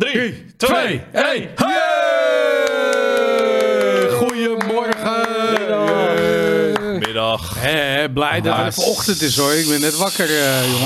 3, 2, 1. Goedemorgen! Middag. Hé, blij dat het even ochtend is hoor. Ik ben net wakker, eh,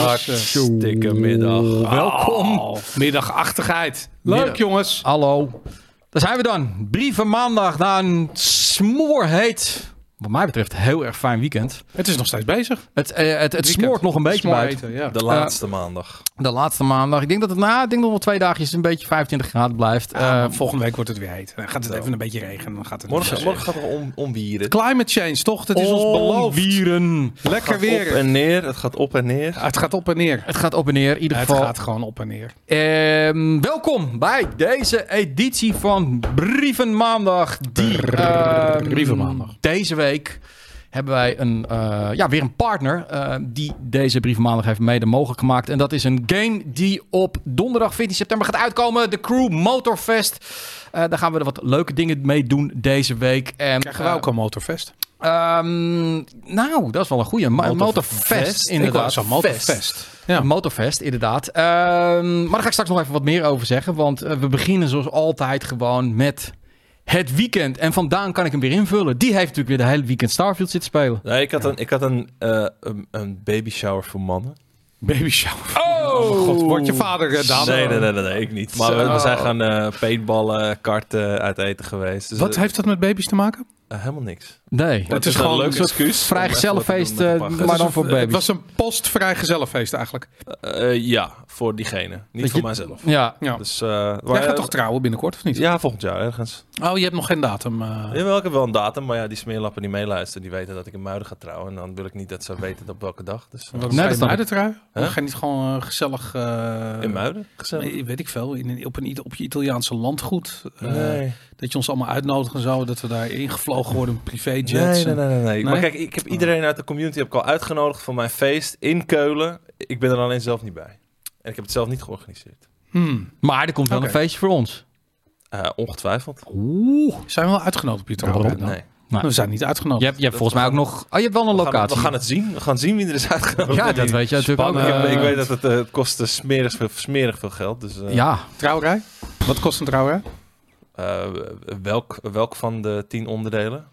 jongens. Dikke middag. Welkom. middagachtigheid. Oh. Leuk, Middag. jongens. Hallo. Daar zijn we dan. Brieven maandag na een smoorheet. Wat mij betreft heel erg fijn weekend. Het is nog steeds bezig. Het, eh, het, het, smoort nog een beetje Smoor bij. eten, ja. De laatste Eh, maandag. De laatste maandag. Ik denk dat het na, ik denk nog wel twee dagjes een beetje 25 graden blijft. Ah, maar Eh, volgende week wordt het weer heet. Dan gaat het even een beetje regenen. Dan gaat het Morgen, weer- morgen gaan we om, omwieren. Climate change, toch? Dat is ons beloofd. Onwieren. Lekker weer. Op en neer. Het gaat op en neer. Het gaat op en neer. Het gaat op en neer, in ieder Het geval. gaat gewoon op en neer. Ehm, welkom bij deze editie van Brieven Maandag. Die, ehm, Brieven Maandag. Deze week hebben wij een, eh, ja, weer een partner eh, die deze Brieven Maandag heeft mede mogelijk gemaakt. En dat is een game die op donderdag 14 september gaat uitkomen. De Crew Motorfest. Eh, daar gaan we er wat leuke dingen mee doen deze week. En, Krijgen we ook een motorfest? eh, ehm, nou, dat is wel een goede. Motorfest, Motorfest? motorfest Ik wou inderdaad. zo'n motorfest. Ja. Een Motorfest, inderdaad. Ehm, maar daar ga ik straks nog even wat meer over zeggen. Want eh, we beginnen zoals altijd gewoon met het weekend. En vandaan kan ik hem weer invullen. Die heeft natuurlijk weer de hele weekend Starfield zitten spelen. Nee, ik had een, ik had een, eh, een, een baby shower voor mannen. Baby shower. Oh, mijn god. Word je vader, eh, Daan? Nee, nee, nee, nee, nee, ik niet. Maar we, we zijn gaan eh paintballen, karten, uit eten geweest. Dus Wat het- heeft dat met baby's te maken? eh, helemaal niks. Nee. Het is gewoon een soort excuus. om even wat te vrijgezellenfeest, doen met een eh, paar maar gasten. dan een- voor Het baby's. was een post-vrijgezellenfeest eigenlijk. Eh, ja, voor diegene. Niet je- voor mijzelf. Ja. Ja. Dus, eh, waar- Jij gaat toch trouwen binnenkort, of niet? Ja, volgend jaar ergens. Oh, je hebt nog geen datum. eh. Jawel, ik heb wel een datum, maar ja, die smeerlappen die meeluisteren, die weten dat ik in Muiden ga trouwen. En dan wil ik niet dat ze weten op welke dag. Dus, eh, Wat Nee, dat nee, snap de trui? Huh? Ga je niet gewoon eh, gezellig... eh, in Muiden? Gezellig. nee, Weet ik veel. In, een- op, een, Ita- op je Italiaanse landgoed. eh, Nee. Dat je ons allemaal uitnodigt en zo. Dat we daar ingevlogen worden met privéjets. Nee, nee, en- nee, nee, nee. Maar Nee? kijk, ik heb iedereen uit de community heb ik al uitgenodigd voor mijn feest in Keulen. Ik ben er alleen zelf niet bij. En ik heb het zelf niet georganiseerd. Hmm. Maar er komt wel Oké. een feestje voor ons. Nou, Eh, ongetwijfeld. Oeh. Zijn we wel uitgenodigd op je Ja, trouwens? waarom? Nee. Nou, We zijn niet Je uitgenodigd. hebt, je hebt volgens mij ook nog... Oh, je hebt wel een We gaan, we locatie. gaan het zien. We gaan zien wie er is uitgenodigd. ja, en dat wie weet je natuurlijk ook. niet. ik, Spannend. heb- ik eh, weet dat het, eh, het kost eh, smerig, veel, smerig veel geld. Dus, eh, ja. Trouwerij? Wat kost een trouwerij? eh, welk, welk van de tien onderdelen?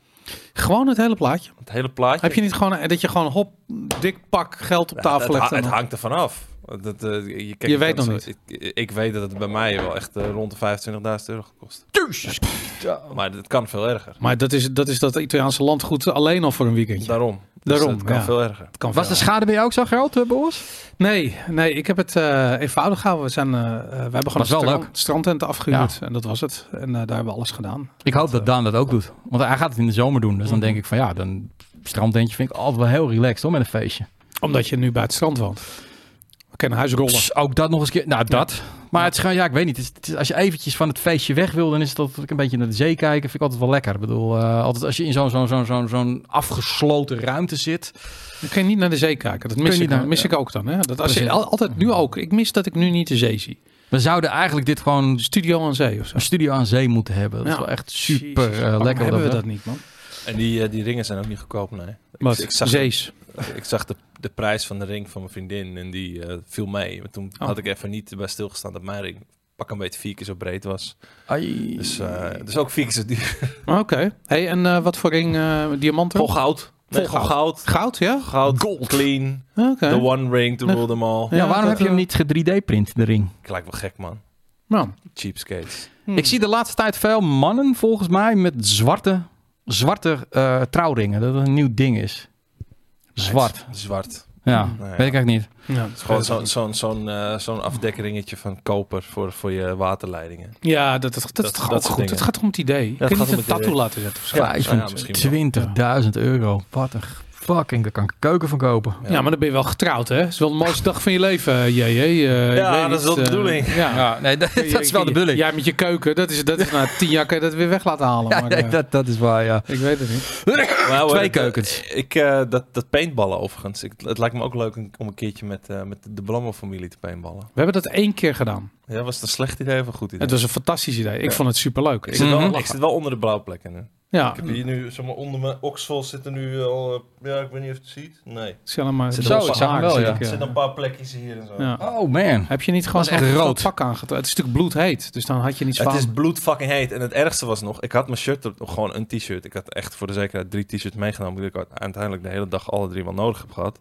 Gewoon het hele plaatje. Het hele plaatje. Heb je niet gewoon eh, dat je gewoon hop, dik pak geld op Ja, tafel het, legt? ha- het en dan- hangt er vanaf. Dat, eh, je kijkt Je weet dat- nog niet. Ik, ik weet dat het bij mij wel echt eh, rond de 25.000 euro gekost. Jezus. Maar dat kan veel erger. Maar dat is, dat is dat Italiaanse landgoed alleen al voor een weekendje. Daarom. Dus Daarom, dat kan ja. veel erger. kan Was de schade bij jou ook zo groot, eh, Boris? Nee, nee, ik heb het eh, eenvoudig gehouden. We, zijn, eh, eh, we hebben gewoon Was wel strand- leuk. strandtent afgehuurd. En dat was het. En eh, daar hebben we alles gedaan. Ik hoop dat Daan dat ook doet. Want hij gaat het in de zomer doen. Dus dan denk ik van ja, dan strandtentje vind ik altijd wel heel relaxed hoor met een feestje. Omdat je nu bij het strand woont. We kennen huisrollen. Pss, ook dat nog eens keer. Nou, dat. Maar het is gewoon, ja, ik weet niet. Het is, het is- als je eventjes van het feestje weg wil, dan is het dat ik een beetje naar de zee kijken. Vind ik altijd wel lekker. Ik bedoel, eh, altijd als je in zo'n zo'n zo'n zo'n zo'n afgesloten ruimte zit. Dan kun je niet naar de zee kijken. Dat Kun mis, je ik, niet naar- dan- mis ik ook dan. Hè? Dat als je, Precies. al- altijd nu ook. Ik mis dat ik nu niet de zee zie. We zouden eigenlijk dit gewoon Studio aan zee of zo. een studio aan zee moeten hebben. Dat is Ja. wel echt super Jezus, eh, waarom lekker. hebben we wat dat niet, man. En die, eh, die ringen zijn ook niet goedkoop, nee. Wat? Ik, ik zag, Zees. ik zag de, de prijs van de ring van mijn vriendin en die eh, viel mee. Maar toen Oh. had ik even niet bij stilgestaan dat mijn ring pak een beetje vier keer zo breed was. Ai. Dus, eh, dus ook vier keer zo duur. Ah, Oké. Hey, en eh, wat voor ring? eh diamanten? Vol goud. Nee, Vol gewoon goud. Goud, ja? Goud, clean, Oké. the one ring to Nee. rule them all. ja, Ja, waarom dat, heb je hem eh, niet ge-3D-print, de ring? Ik lijk wel gek, man. Nou, Cheapskates. hmm. Ik zie de laatste tijd veel mannen, volgens mij, met zwarte, zwarte eh, trouwringen. Dat het een nieuw ding is. Zwart. Zwart. Ja, Nou ja. weet ik eigenlijk niet. Ja, Het is gewoon zo'n zo'n zo'n eh, zo'n afdekkeringetje van koper voor, voor je waterleidingen. Ja, dat, dat, dat, Dat- dat, dat ook soort goed. dingen. Het gaat om het idee. het Kun je gaat niet om een het idee. tattoo laten zetten of zo? Ja, ja, misschien 25.000 euro. Wat een fucking, daar kan ik keuken van kopen. Ja. maar dan ben je wel getrouwd, hè? Het is wel de mooiste dag van je leven, eh, JJ. eh, ik Ja, weet dat niet, is wel de eh, bedoeling. ja. Ja, nee, dat, dat is wel de bedoeling. Ja, Ja, met je keuken. Dat is, dat is na tien jaar kan je dat weer weg laten halen. maar, nee, eh, dat, dat is waar, ja. Ik weet het niet. Maar hoor, Twee dat- keukens. Ik, eh, dat, dat paintballen overigens. Ik, het lijkt me ook leuk om een keertje met, eh, met de Blammo-familie te paintballen. We hebben dat één keer gedaan. Ja, was het een slecht idee of een goed idee? Het was een fantastisch idee. Ik vond het superleuk. ik, zit wel, Mhm. ik zit wel onder de blauwplekken. hè. Ja, Ik heb hier nu, zeg maar, onder mijn oksel zitten nu al... eh, ja, ik weet niet of je het ziet. Nee. ik zie allemaal Zit een er roze wel- zag hem haar, wel, zie ja. ik, Er zitten een paar plekjes hier en zo. Ah. Ja. Oh man. Heb je niet gewoon Dat is zo'n echt groot rood. pak aangetrokken? Het is natuurlijk bloedheet, dus dan had je niet zwaar. Het is bloedfucking heet. En het ergste was nog, ik had mijn shirt, op- gewoon een t-shirt. Ik had echt voor de zekerheid drie t-shirts meegenomen. Die ik uiteindelijk de hele dag alle drie wel nodig heb gehad.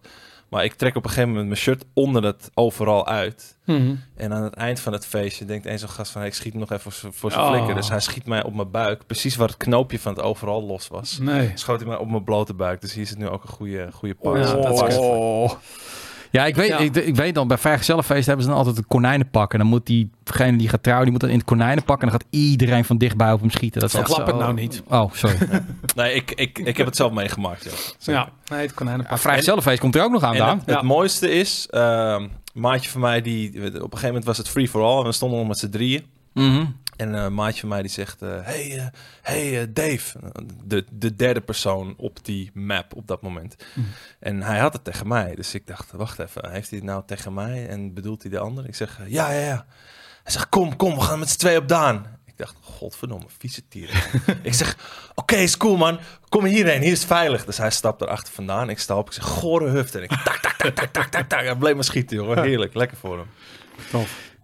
Maar ik trek op een gegeven moment mijn shirt onder het overal uit. Mhm. En aan het eind van het feestje denkt een zo'n gast van... hey, ik schiet hem nog even voor z'n- voor zijn Oh. flikker. Dus hij schiet mij op mijn buik. Precies waar het knoopje van het overal los was. Nee. Schoot hij mij op mijn blote buik. Dus hier zit nu ook een goede, goede Oh, paar. dat is echt- Ja, ik weet, Ja. Ik, ik weet dan, bij vrijgezellenfeest hebben ze dan altijd een konijnenpak. En dan moet diegene die gaat trouwen, die moet dan in het konijnenpak. En dan gaat iedereen van dichtbij op hem schieten. Dat is echt Verklap zo- het nou niet. Oh, sorry. Nee, ik, ik, ik heb het zelf meegemaakt. Ja. Zeker. Ja, nee, het konijnenpak. Maar vrijgezellenfeest komt er ook nog aan, En Daan. het, het Ja. mooiste is, ehm, een maatje van mij die, op een gegeven moment was het free for all en we stonden nog met z'n drieën. Mhm. En eh, een maatje van mij die zegt, eh, hey, eh, hey eh, Dave, de, de derde persoon op die map op dat moment. Hm. En hij had het tegen mij, dus ik dacht, wacht even, heeft hij het nou tegen mij en bedoelt hij de ander? Ik zeg, eh, ja, ja, ja. Hij zegt, kom, kom, we gaan met z'n tweeën op Daan. Ik dacht, godverdomme, vieze tieren. ik zeg, oké, is cool man, kom hierheen, hier is het veilig. Dus hij stapt erachter vandaan, ik sta op, ik zeg, gore huft. En ik tak, tak, tak, tak, tak, tak, tak. Hij bleef maar schieten, jongen, heerlijk, lekker voor hem.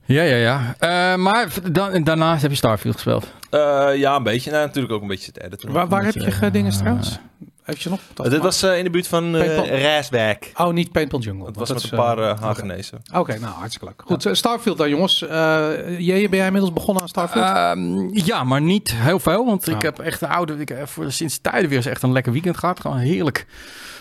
Ja, ja, ja. Eh, maar v- dan, daarnaast heb je Starfield gespeeld. Eh, ja, een beetje, nou, natuurlijk ook een beetje te editen. Waar, waar Moet heb je, je ge- dingen eh, trouwens? Heb je nog? Dat dit was eh, in de buurt van eh Paintball. Rijswijk. Oh, niet Paintball Jungle. Dat want was dat met is, een eh, paar eh Hagenezen. Oké, nou hartstikke leuk. Goed, eh, Starfield dan jongens. Eh Jee, ben jij inmiddels begonnen aan Eh, Starfield? Ehm, ja, maar niet heel veel. Want ik Ah. heb echt een oude... Ik heb voor, sinds tijden weer eens echt een lekker weekend gehad. Gewoon heerlijk.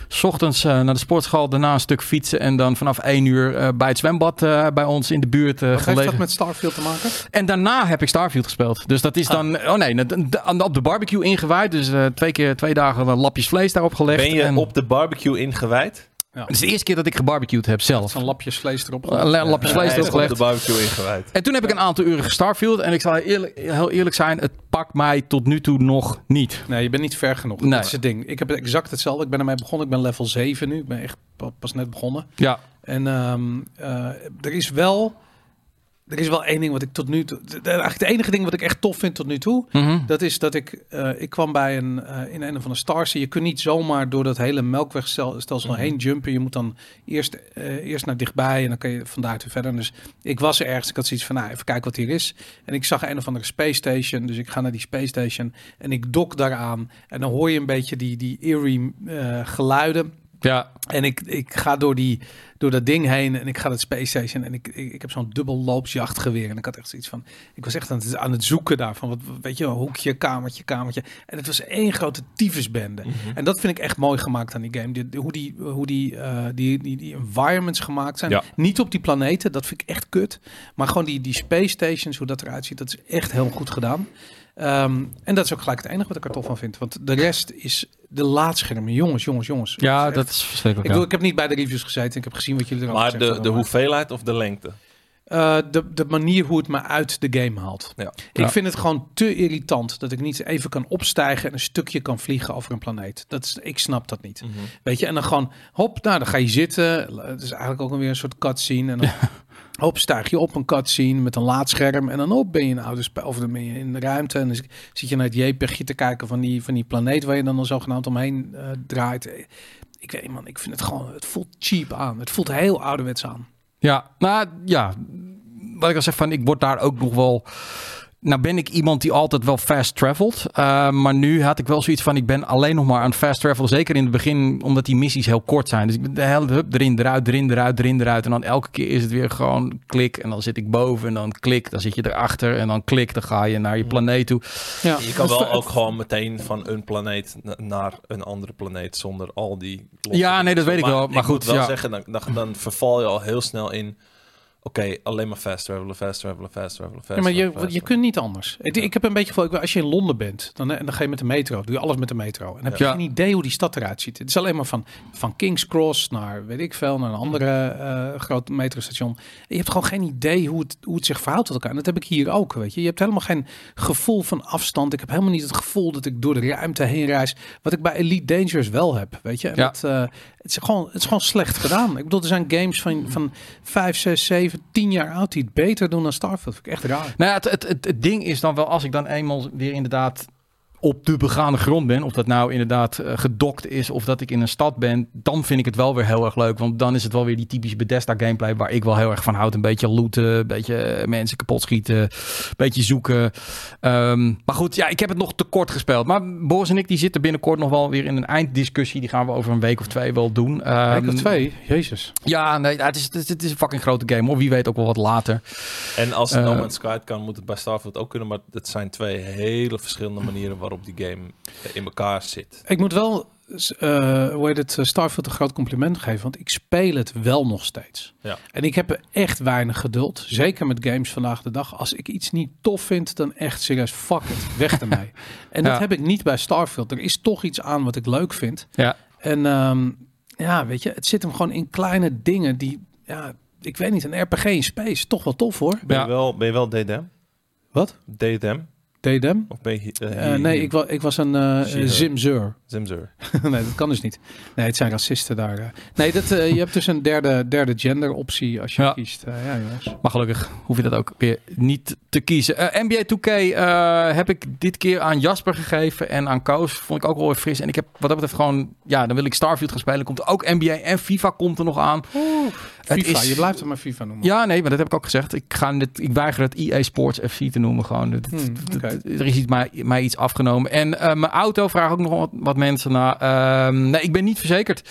's ochtends eh, naar de sportschool, daarna een stuk fietsen. En dan vanaf 1 uur eh, bij het zwembad eh, bij ons in de buurt eh, Wat heeft gelegen. dat met Starfield te maken? En daarna heb ik Starfield gespeeld. Dus dat is Ah. dan... Oh nee, na- na- aan de- op de barbecue ingewijd. Dus eh, twee keer twee dagen eh, lapjes vlees daarop gelegd. Ben je en, op de barbecue ingewijd? Het is de eerste keer dat ik gebarbecued heb zelf. Eh, Zo'n lapjes vlees erop. Eh, Een la- lapjes Hij vlees is erop op de gelegd. barbecue ingewijd. En toen heb ik een aantal uren gestarfield. En ik zal eerlijk, heel eerlijk zijn, het pakt mij tot nu toe nog niet. Nee, je bent niet ver genoeg. Nee. Dat is het ding. Ik heb exact hetzelfde. Ik ben ermee begonnen. Ik ben level 7 nu. Ik ben echt pa- pas net begonnen. Ja, En ehm, eh, er is wel... Er is wel één ding wat ik tot nu toe... de- de- Eigenlijk het enige ding wat ik echt tof vind tot nu toe... Mhm. Dat is dat ik... eh, ik kwam bij een... eh, in een van de stars. Je kunt niet zomaar door dat hele melkwegstelsel heen jumpen. Je moet dan eerst, eh, eerst naar dichtbij. En dan kan je vandaar weer verder. Dus ik was er ergens. Ik had zoiets van... Nou, even kijken wat hier is. En ik zag een of andere space station. Dus ik ga naar die space station. En ik dok daaraan. En dan hoor je een beetje die, die eerie eh, geluiden. ja. En ik, ik ga door, die, door dat ding heen en ik ga dat Space Station en ik, ik, ik heb zo'n dubbel loopsjachtgeweer. En ik had echt zoiets van, ik was echt aan het, aan het zoeken daarvan. Wat, weet je, een hoekje, kamertje, kamertje. En het was één grote tyfusbende. Mhm. En dat vind ik echt mooi gemaakt aan die game. Die- die- hoe die, hoe die, eh, die, die, die environments gemaakt zijn. Ja. Niet op die planeten, dat vind ik echt kut. Maar gewoon die, die Space Stations, hoe dat eruit ziet, dat is echt heel goed gedaan. Ehm, en dat is ook gelijk het enige wat ik er tof van vind. Want de rest is de laadschermen. Jongens, jongens, jongens. ja, Het is dat is verschrikkelijk. ik, bedoel, ik heb niet bij de reviews gezeten. Ik heb gezien wat jullie erover Maar gezegd de, de hadden, maar- hoeveelheid of de lengte? Eh, de, de manier hoe het me uit de game haalt. Ja. Ja. Ik vind het gewoon te irritant dat ik niet even kan opstijgen en een stukje kan vliegen over een planeet. Dat is, ik snap dat niet. Mhm. Weet je, en dan gewoon hop, nou dan ga je zitten. Het is eigenlijk ook weer een soort cutscene. En dan hop, stijg je op een cutscene met een laadscherm. En dan hop, ben je in een oude spel of dan ben je in de ruimte. En dan zit- zit je naar het JPEGje te kijken van die, van die planeet waar je dan al zogenaamd omheen eh, draait. Ik weet niet, man, ik vind het gewoon, het voelt cheap aan. Het voelt heel ouderwets aan. Ja, nou ja, wat ik al zeg van, ik word daar ook nog wel... Nou ben ik iemand die altijd wel fast travelt. eh, maar nu had ik wel zoiets van, ik ben alleen nog maar aan het fast travel. Zeker in het begin, omdat die missies heel kort zijn. Dus ik ben de hele hup erin, eruit, erin, eruit, erin, eruit. En dan elke keer is het weer gewoon klik. En dan zit ik boven en dan klik. Dan zit je erachter en dan klik. Dan ga je naar je planeet toe. Ja. Je kan wel ook gewoon meteen van een planeet na- naar een andere planeet zonder al die... losse Ja, nee, dat dingen. weet ik wel, maar moet goed, wel ja. zeggen, dan, dan, dan verval je al heel snel in... Oké, alleen maar fast travelen, fast travelen, fast travelen, fast Ja, maar je, travelen, fast je kunt niet anders. Het- Ik heb een beetje gevoel, ik- als je in Londen bent, dan, eh, dan ga je met de metro, doe je alles met de metro. En dan heb je Ja. geen idee hoe die stad eruit ziet. Het is alleen maar van, van King's Cross naar, weet ik veel, naar een andere eh groot metrostation. Je hebt gewoon geen idee hoe het, hoe het zich verhoudt tot elkaar. En dat heb ik hier ook, weet je. Je hebt helemaal geen gevoel van afstand. Ik heb helemaal niet het gevoel dat ik door de ruimte heen reis. Wat ik bij Elite Dangerous wel heb, weet je. En Ja. dat, eh, het, is gewoon, het is gewoon slecht gedaan. Ik bedoel, er zijn games van, van 5, 6, 7, 10 jaar oud die het beter doen dan Starfield. Vind ik echt raar. Nou ja, het, het, het, het ding is dan wel, als ik dan eenmaal weer inderdaad op de begane grond ben, of dat nou inderdaad eh, gedokt is of dat ik in een stad ben, dan vind ik het wel weer heel erg leuk. Want dan is het wel weer die typische Bethesda gameplay waar ik wel heel erg van houd. Een beetje looten, een beetje eh, mensen kapot schieten, een beetje zoeken. Ehm, maar goed, ja, ik heb het nog te kort gespeeld. Maar Boris en ik die zitten binnenkort nog wel weer in een einddiscussie. Die gaan we over een week of twee wel doen. Ehm, Kijk, of twee. Jezus. Ja, nee, ja, het is, het is- het is een fucking grote game hoor. Wie weet ook wel wat later. En als het Eh, No Man's Sky kan, moet het bij Starfield ook kunnen. Maar het zijn twee hele verschillende manieren waarop die game eh, in elkaar zit. Ik moet wel, eh hoe heet het, eh, Starfield een groot compliment geven. Want ik speel het wel nog steeds. Ja. En ik heb er echt weinig geduld. Zeker met games vandaag de dag. Als ik iets niet tof vind, dan echt serieus, fuck it. Weg ermee. En Ja. dat heb ik niet bij Starfield. Er is toch iets aan wat ik leuk vind. Ja. En ehm, ja, weet je, het zit hem gewoon in kleine dingen die, ja, ik weet niet, een RPG in space, toch wel tof hoor. Ben, Ja. je wel, ben je wel DDM? Wat? DDM? DDM? Of ben je... eh, Eh, hier- nee, ik, wa- ik was een eh, Zero. Zimzeur. Zimzer. nee, dat kan dus niet. Nee, het zijn racisten daar. eh. Nee, dat, eh, je hebt dus een derde, derde gender optie als je Ja. kiest. Eh, ja, jongens. Maar gelukkig hoef je dat ook weer niet te kiezen. Eh, NBA 2K eh, heb ik dit keer aan Jasper gegeven en aan Koos. Vond ik ook wel weer fris. En ik heb wat dat betreft gewoon... Ja, dan wil ik Starfield gaan spelen. Komt er ook NBA en FIFA komt er nog aan. Het FIFA, is- je blijft het maar FIFA noemen. Ja, nee, maar dat heb ik ook gezegd. Ik, ga dit, ik weiger het EA Sports FC te noemen. Gewoon. Het- het- Hmm, het- oké. het- Er is iets, mij, mij iets afgenomen. En eh, mijn auto vragen ook nog wat, wat mensen naar. Ehm, nee, ik ben niet verzekerd.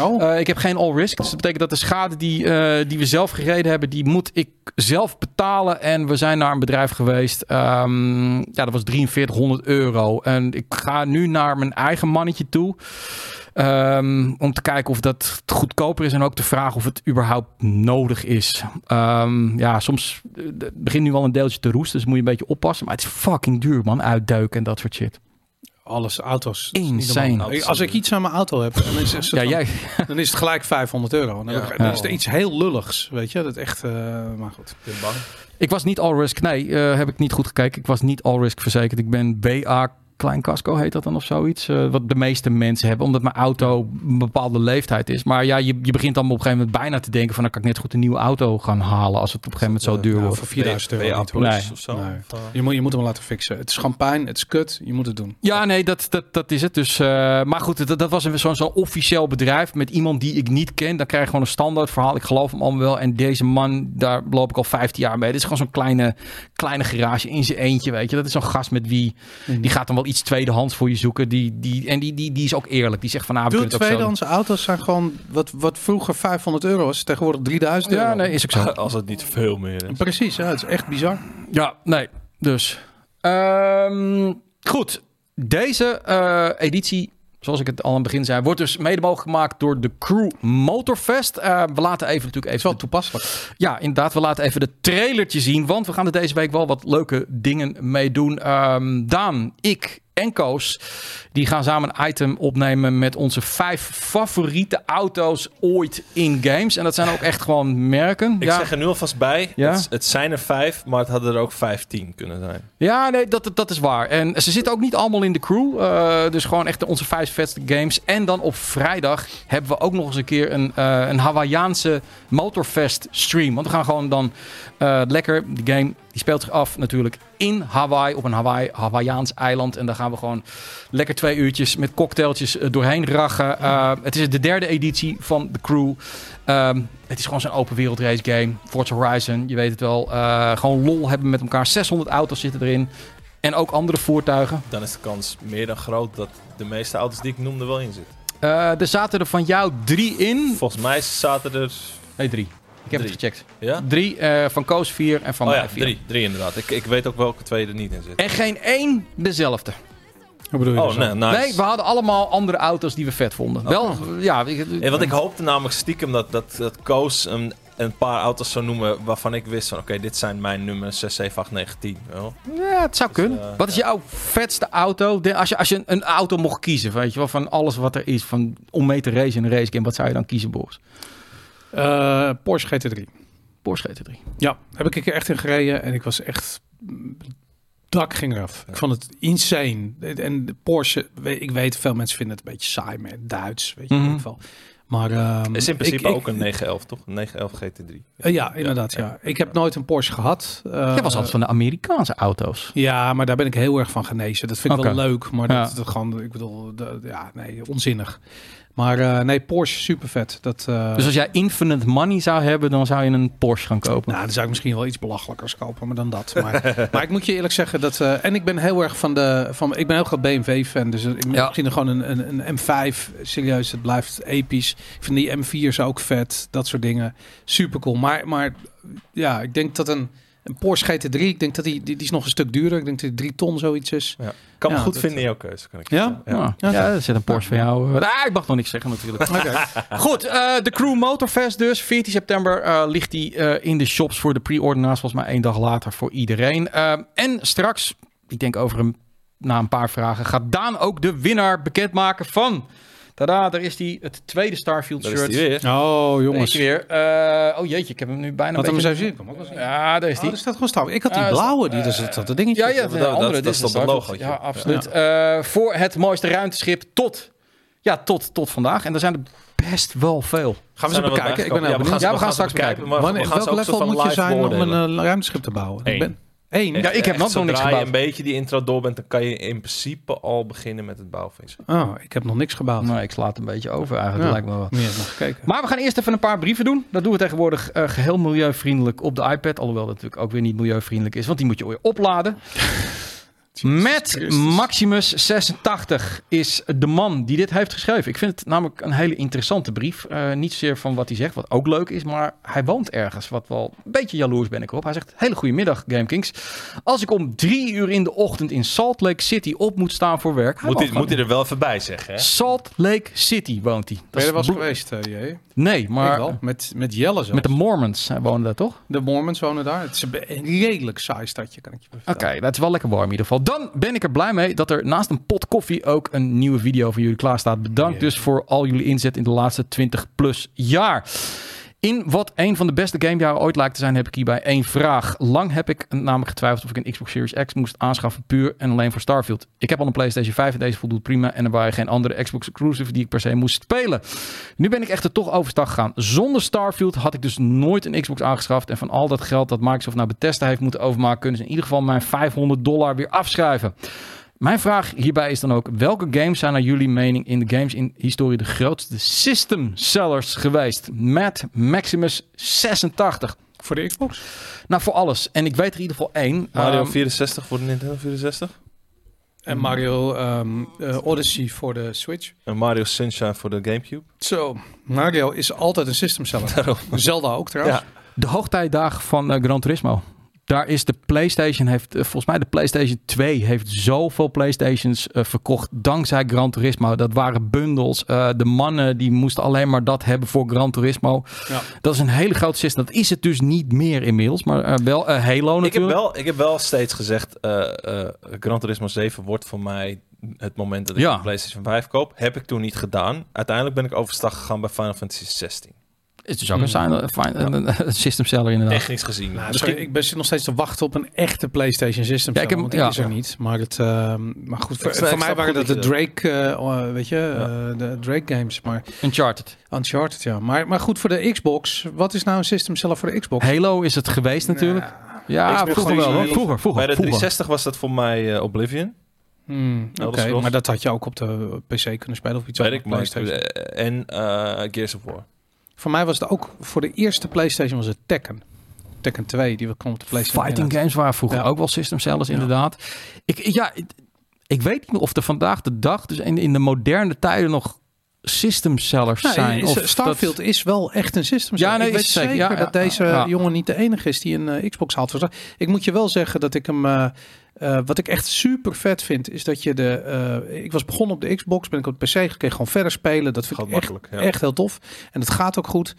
Oh, Eh, ik heb geen all risk. Dus dat betekent dat de schade die, eh, die we zelf gereden hebben, die moet ik zelf betalen. En we zijn naar een bedrijf geweest. Ehm, ja, dat was 4300 euro. En ik ga nu naar mijn eigen mannetje toe. ehm, om te kijken of dat goedkoper is. En ook te vragen of het überhaupt nodig is. Ehm, ja, soms eh, het begint nu al een deeltje te roesten. Dus moet je een beetje oppassen. Maar het is fucking duur, man. Uitduiken en dat soort shit. alles, auto's. dat is niet Insane. Nou, normaal. Ik- Als ik iets aan mijn auto heb, dan is, is het, Ja, dan, jij. dan is het gelijk 500 euro. Dan, heb Ja. ik- dan is Ja. er iets heel lulligs, weet je. Dat echt, eh, maar goed. Ik ben bang. Ik was niet all risk. Nee, eh, heb ik niet goed gekeken. Ik was niet all risk verzekerd. Ik ben BA Klein Casco heet dat dan of zoiets. eh, wat de meeste mensen hebben. Omdat mijn auto een bepaalde leeftijd is. Maar ja, je, je begint dan op een gegeven moment bijna te denken van... dan kan ik net goed een nieuwe auto gaan halen als het op een gegeven moment zo duur nou, wordt. voor 4000 euro BA niet, hoor. Plus Nee. of zo. Nee. Of, eh, Je moet, je moet hem laten fixen. Het is gewoon pijn, het is kut, je moet het doen. Ja, nee, dat, dat, dat is het. Dus, eh, maar goed, dat, dat was een- zo'n zo'n officieel bedrijf met iemand die ik niet ken. Dan krijg je gewoon een standaard verhaal. Ik geloof hem allemaal wel. En deze man, daar loop ik al 15 jaar mee. Dit is gewoon zo'n kleine, kleine garage in zijn eentje, weet je. Dat is zo'n gast met wie... Die gaat dan wel iets tweedehands voor je zoeken. Die, die, en die, die, die is ook eerlijk. Die zegt van... Ah, we Dude, kunnen het ook zo doen. tweedehands auto's zijn gewoon wat, wat vroeger 500 euro was, tegenwoordig 3000 euro. Ja, nee, is ook zo. Als het niet veel meer is. Precies, ja, het is echt bizar. Ja, nee. Dus. Ehm, goed. Deze eh, editie, zoals ik het al aan het begin zei, wordt dus mede mogelijk gemaakt door de Crew Motorfest. Eh, we laten even natuurlijk Het is even. wel toepasselijk. Ja, inderdaad. We laten even de trailertje zien. Want we gaan er deze week wel wat leuke dingen mee doen. Ehm, Daan, ik en Koos. Die gaan samen een item opnemen met onze vijf favoriete auto's ooit in games. En dat zijn ook echt gewoon merken. Ik ja. zeg er nu alvast bij, Ja. het, het zijn er vijf, maar het hadden er ook vijftien kunnen zijn. Ja, nee, dat, dat is waar. En ze zitten ook niet allemaal in de crew. eh, dus gewoon echt onze vijf vetste games. En dan op vrijdag hebben we ook nog eens een keer een, eh een Hawaïaanse Motorfest stream. Want we gaan gewoon dan eh, lekker. Die game die speelt zich af natuurlijk in Hawaii. Op een Hawaii, Hawaïaans eiland. En daar gaan we gewoon lekker twee uurtjes met cocktailtjes eh, doorheen rachen. Eh, het is de derde editie van de crew. Ehm, het is gewoon zo'n open wereld race game. Forza Horizon, je weet het wel. Eh, gewoon lol hebben met elkaar. 600 auto's zitten erin. En ook andere voertuigen. Dan is de kans meer dan groot dat de meeste auto's die ik noemde wel in zitten. Eh, er zaten er van jou drie in. Volgens mij zaten er... Nee, drie. Ik heb Drie. het gecheckt. Ja? Drie, eh, van Koos vier en van Oh ja, mij vier. drie, drie inderdaad. Ik, ik weet ook welke twee er niet in zitten. En geen één dezelfde. Hoe bedoel je dus Oh, nee, nice. Oh, Nee, we hadden allemaal andere auto's die we vet vonden. Wel, ja. ik- Ja, want ik hoopte namelijk stiekem dat, dat, dat Koos een, een paar auto's zou noemen waarvan ik wist van... Oké, dit zijn mijn nummers 6, 7, 8, 9, 10. weet je wel. Ja, het zou kunnen. eh, wat is jouw vetste auto? De- als je, als je een, een auto mocht kiezen, weet je wel, van alles wat er is, van om mee te racen in een racegame, wat zou je dan kiezen, Boris? Eh, Porsche GT3. Porsche GT3. Ja, heb ik een keer echt in gereden en ik was echt... mm, Dak ging eraf. Ik vond het insane. En de Porsche, we- ik weet, veel mensen vinden het een beetje saai, maar Duits, weet je in Mhm. ieder geval. Maar, ehm, is in principe ik- ik- ook een 911, toch? Een 911 GT3. eh, ja, inderdaad. Ja, Ik heb nooit een Porsche gehad. Eh, Jij was altijd van de Amerikaanse auto's. Ja, maar daar ben ik heel erg van genezen. Dat vind ik Oké. wel leuk, maar dat, Ja. dat gewoon, ik bedoel, dat- ja, nee, onzinnig. Maar eh, nee, Porsche super vet. Dat, eh, Dus als jij infinite money zou hebben, dan zou je een Porsche gaan kopen. Nou, dan zou ik misschien wel iets belachelijkers kopen, maar dan dat. Maar, maar ik moet je eerlijk zeggen dat. eh, en ik ben heel erg van de. Van, ik ben heel groot BMW-fan. Dus ik ben Ja. misschien gewoon een, een, een M5. Serieus, het blijft episch. Ik vind die M4's ook vet. Dat soort dingen. Super cool. Maar, maar ja, ik denk dat een. Een Porsche GT3, ik denk dat die, die, die is nog een stuk duurder. Ik denk dat die 3 ton zoiets is. Kan me Ja, goed dat- vinden in jouw keuze, kan ik Ja? zeggen. eh, Ja, Nou, ja. Ja. er zit een Porsche van jou. eh, ah, ik mag nog niks zeggen natuurlijk. Goed, eh, de Crew Motorfest dus. 14 september eh, ligt die eh, in de shops voor de pre-ordinaars. Volgens mij één dag later voor iedereen. Eh, en straks, ik denk over een, na een paar vragen, gaat Daan ook de winnaar bekendmaken van... Tada, daar is die, het tweede Starfield Dat is shirt. die weer. Oh, Daar is jongens. die weer. Eh, oh jeetje, ik heb hem nu bijna Laat een hem eens beetje... even zien. Kom ook wel zien. Ja, daar is Oh, die. er staat gewoon stouw. Ik had die Ah, er blauwe, die, dat is dat, dat dingetje. Ja, ja, dat- de dat- andere. dat dit is dat een logootje. Starfield. Ja, Ja. absoluut. Eh, voor het mooiste ruimteschip tot, ja, tot, tot vandaag. En er zijn er best wel Gaan veel. we ze Zijn er wat bekijken? Ik ben bijgekomen? heel Ja, we gaan benieuwd. ze- Ja, we gaan straks ze bekijken. Maar Wanneer, we gaan welk ze ook soort level van moet je live zijn om een beoordelen. eh, ruimteschip te bouwen? Eén. Ik ben één. Ja, ik heb nog Zodra niks je gebouwd. een beetje die intro door bent, dan kan je in principe al beginnen met het bouwen van je schip. Oh, ik heb nog niks gebouwd. Nou, ik sla het een beetje over eigenlijk, Ja. lijkt me wel. Moet je even nog kijken. Maar we gaan eerst even een paar brieven doen. Dat doen we tegenwoordig eh, geheel milieuvriendelijk op de iPad. Alhoewel dat natuurlijk ook weer niet milieuvriendelijk is, want die moet je weer opladen. Met Christus. Maximus86 is de man die dit heeft geschreven. Ik vind het namelijk een hele interessante brief. Eh, niet zozeer van wat hij zegt, wat ook leuk is, maar hij woont ergens. Wat wel een beetje jaloers ben ik op. Hij zegt: Hele goede middag, GameKings. Als ik om drie uur in de ochtend in Salt Lake City op moet staan voor werk. Moet mag hij, gewoon- moet hij er wel even bij zeggen, hè? Salt Lake City woont hij. ben je er wel is eens blo- geweest, eh, J? Nee, maar ik wel. Met, met Jelle zelfs. met de Mormons hij woonde daar toch? de Mormons wonen daar. Het is een be- een redelijk saai stadje, kan ik je Oké, vertellen. dat is wel lekker warm in ieder geval. Dan ben ik er blij mee dat er naast een pot koffie ook een nieuwe video van jullie klaar staat. Jee. Bedankt dus voor al jullie inzet in de laatste 20 plus jaar. In wat een van de beste gamejaren ooit lijkt te zijn, heb ik hierbij één vraag. Lang heb ik namelijk getwijfeld of ik een Xbox Series X moest aanschaffen puur en alleen voor Starfield. Ik heb al een PlayStation 5 en deze voldoet prima en er waren geen andere Xbox exclusive die ik per se moest spelen. Nu ben ik echter toch overstag gegaan. Zonder Starfield had ik dus nooit een Xbox aangeschaft. En van al dat geld dat Microsoft naar Bethesda heeft moeten overmaken, kunnen ze in ieder geval mijn 500 dollar weer afschrijven. Mijn vraag hierbij is dan ook: welke games zijn naar jullie mening in de games in historie de grootste system sellers geweest? Matt Maximus 86. Voor de Xbox? Nou, voor alles. En ik weet er in ieder geval één. Mario Ehm, 64 voor de Nintendo 64. En Mario ehm, eh, Odyssey voor de Switch. En Mario Sunshine voor de Gamecube. Zo, Mario is altijd een system seller. Zelda ook trouwens. De hoogtijdagen van eh, Gran Turismo. Daar is de PlayStation, heeft, eh, volgens mij de PlayStation 2 heeft zoveel PlayStations eh, verkocht dankzij Gran Turismo. Dat waren bundels. Eh, de mannen die moesten alleen maar dat hebben voor Gran Turismo. Ja. Dat is een hele groot system. Dat is het dus niet meer inmiddels, maar eh, wel eh, Halo natuurlijk. Ik heb, wel, ik heb wel steeds gezegd, eh, eh, Gran Turismo 7 wordt voor mij het moment dat ik Ja. de PlayStation 5 koop. Heb ik toen niet gedaan. Uiteindelijk ben ik overstag gegaan bij Final Fantasy 16. Het is ook een, sign- een fine- een- een system seller inderdaad. Technisch gezien. Nou, misschien sorry, ik ben zit nog steeds te wachten op een echte PlayStation System. Ja, ik heb- seller, want die ja. is er niet. Maar, het, ehm, maar goed, voor, Ik snap- voor mij ik snap waren dat goed de dat je Drake, eh, eh, weet je, eh, de Drake games. Maar Uncharted. Uncharted, ja. Maar, maar goed, voor de Xbox. Wat is nou een system seller voor de Xbox? Halo is het geweest natuurlijk. Nah. Ja, Xbox vroeger is wel. een hoor. hele- Vroeger, vroeger. bij de vroeger. 360 was dat voor mij eh, Oblivion. Hmm, Oké, Elder Scrolls. maar dat had je ook op de PC kunnen spelen of iets. Weet op de ik, maar ik- PlayStation. eh, En eh, Gears of War. Voor mij was het ook voor de eerste PlayStation was het Tekken. Tekken 2, die kwam op de PlayStation. Fighting inderdaad. games waren vroeger Ja. ook wel system sellers, Ja. inderdaad. Ik, ja, ik- ik weet niet meer of er vandaag de dag, dus in, in de moderne tijden, nog system sellers Nou, zijn. is- of dat- Starfield is wel echt een system. seller. Ja, nee, ik weet is het zeker. zeker Ja, dat ja, deze ja. jongen niet de enige is die een eh, Xbox had. Ik moet je wel zeggen dat ik hem. eh, eh, wat ik echt super vet vind, is dat je de. eh, ik was begonnen op de Xbox, ben ik op de PC, ik kon gewoon verder spelen. Dat vind Gaat ik echt, makkelijk. Ja. echt heel tof. En dat gaat ook goed.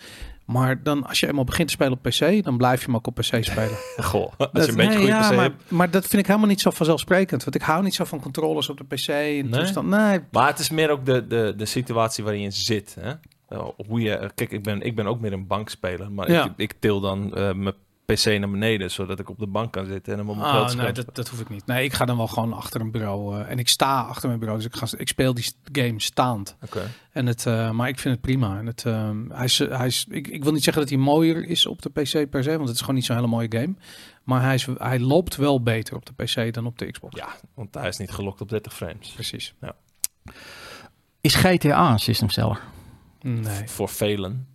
Maar dan, als je eenmaal begint te spelen op PC, dan blijf je hem ook op PC spelen. Goh, als Dat- je een beetje nee, goede ja, PC maar, hebt. maar dat vind ik helemaal niet zo vanzelfsprekend. Want ik hou niet zo van controllers op de PC. En toestand. Nee, Maar het is meer ook de, de, de situatie waarin je zit. Hè? Eh, Hoe je, kijk, ik ben, ik ben ook meer een bankspeler. Maar Ja. ik, ik til dan eh, mijn PC naar beneden, zodat ik op de bank kan zitten en hem op mijn grote Ah, nee, scherm dat, dat hoef ik niet. Nee, ik ga dan wel gewoon achter een bureau. eh, en ik sta achter mijn bureau. Dus ik, ga, ik speel die game staand. speel. Oké. En het, eh, maar ik vind het prima. En het, eh, hij is, hij is, ik, ik wil niet zeggen dat hij mooier is op de PC per se, want het is gewoon niet zo'n hele mooie game. Maar hij, is, hij loopt wel beter op de PC dan op de Xbox. Ja, want hij is niet gelokt op 30 frames. Precies. Is GTA een system seller? Nee. Voor velen,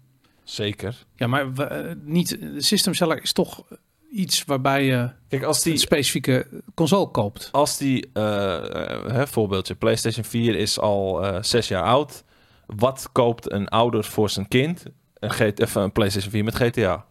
zeker. Ja, maar we, eh, niet, System Seller is toch iets waarbij je Kijk, als een die, specifieke console koopt. als die eh, eh, hè, voorbeeldje, PlayStation 4 is al eh, zes jaar oud. Wat koopt een ouder voor zijn kind? Een, G- of een PlayStation 4 met GTA.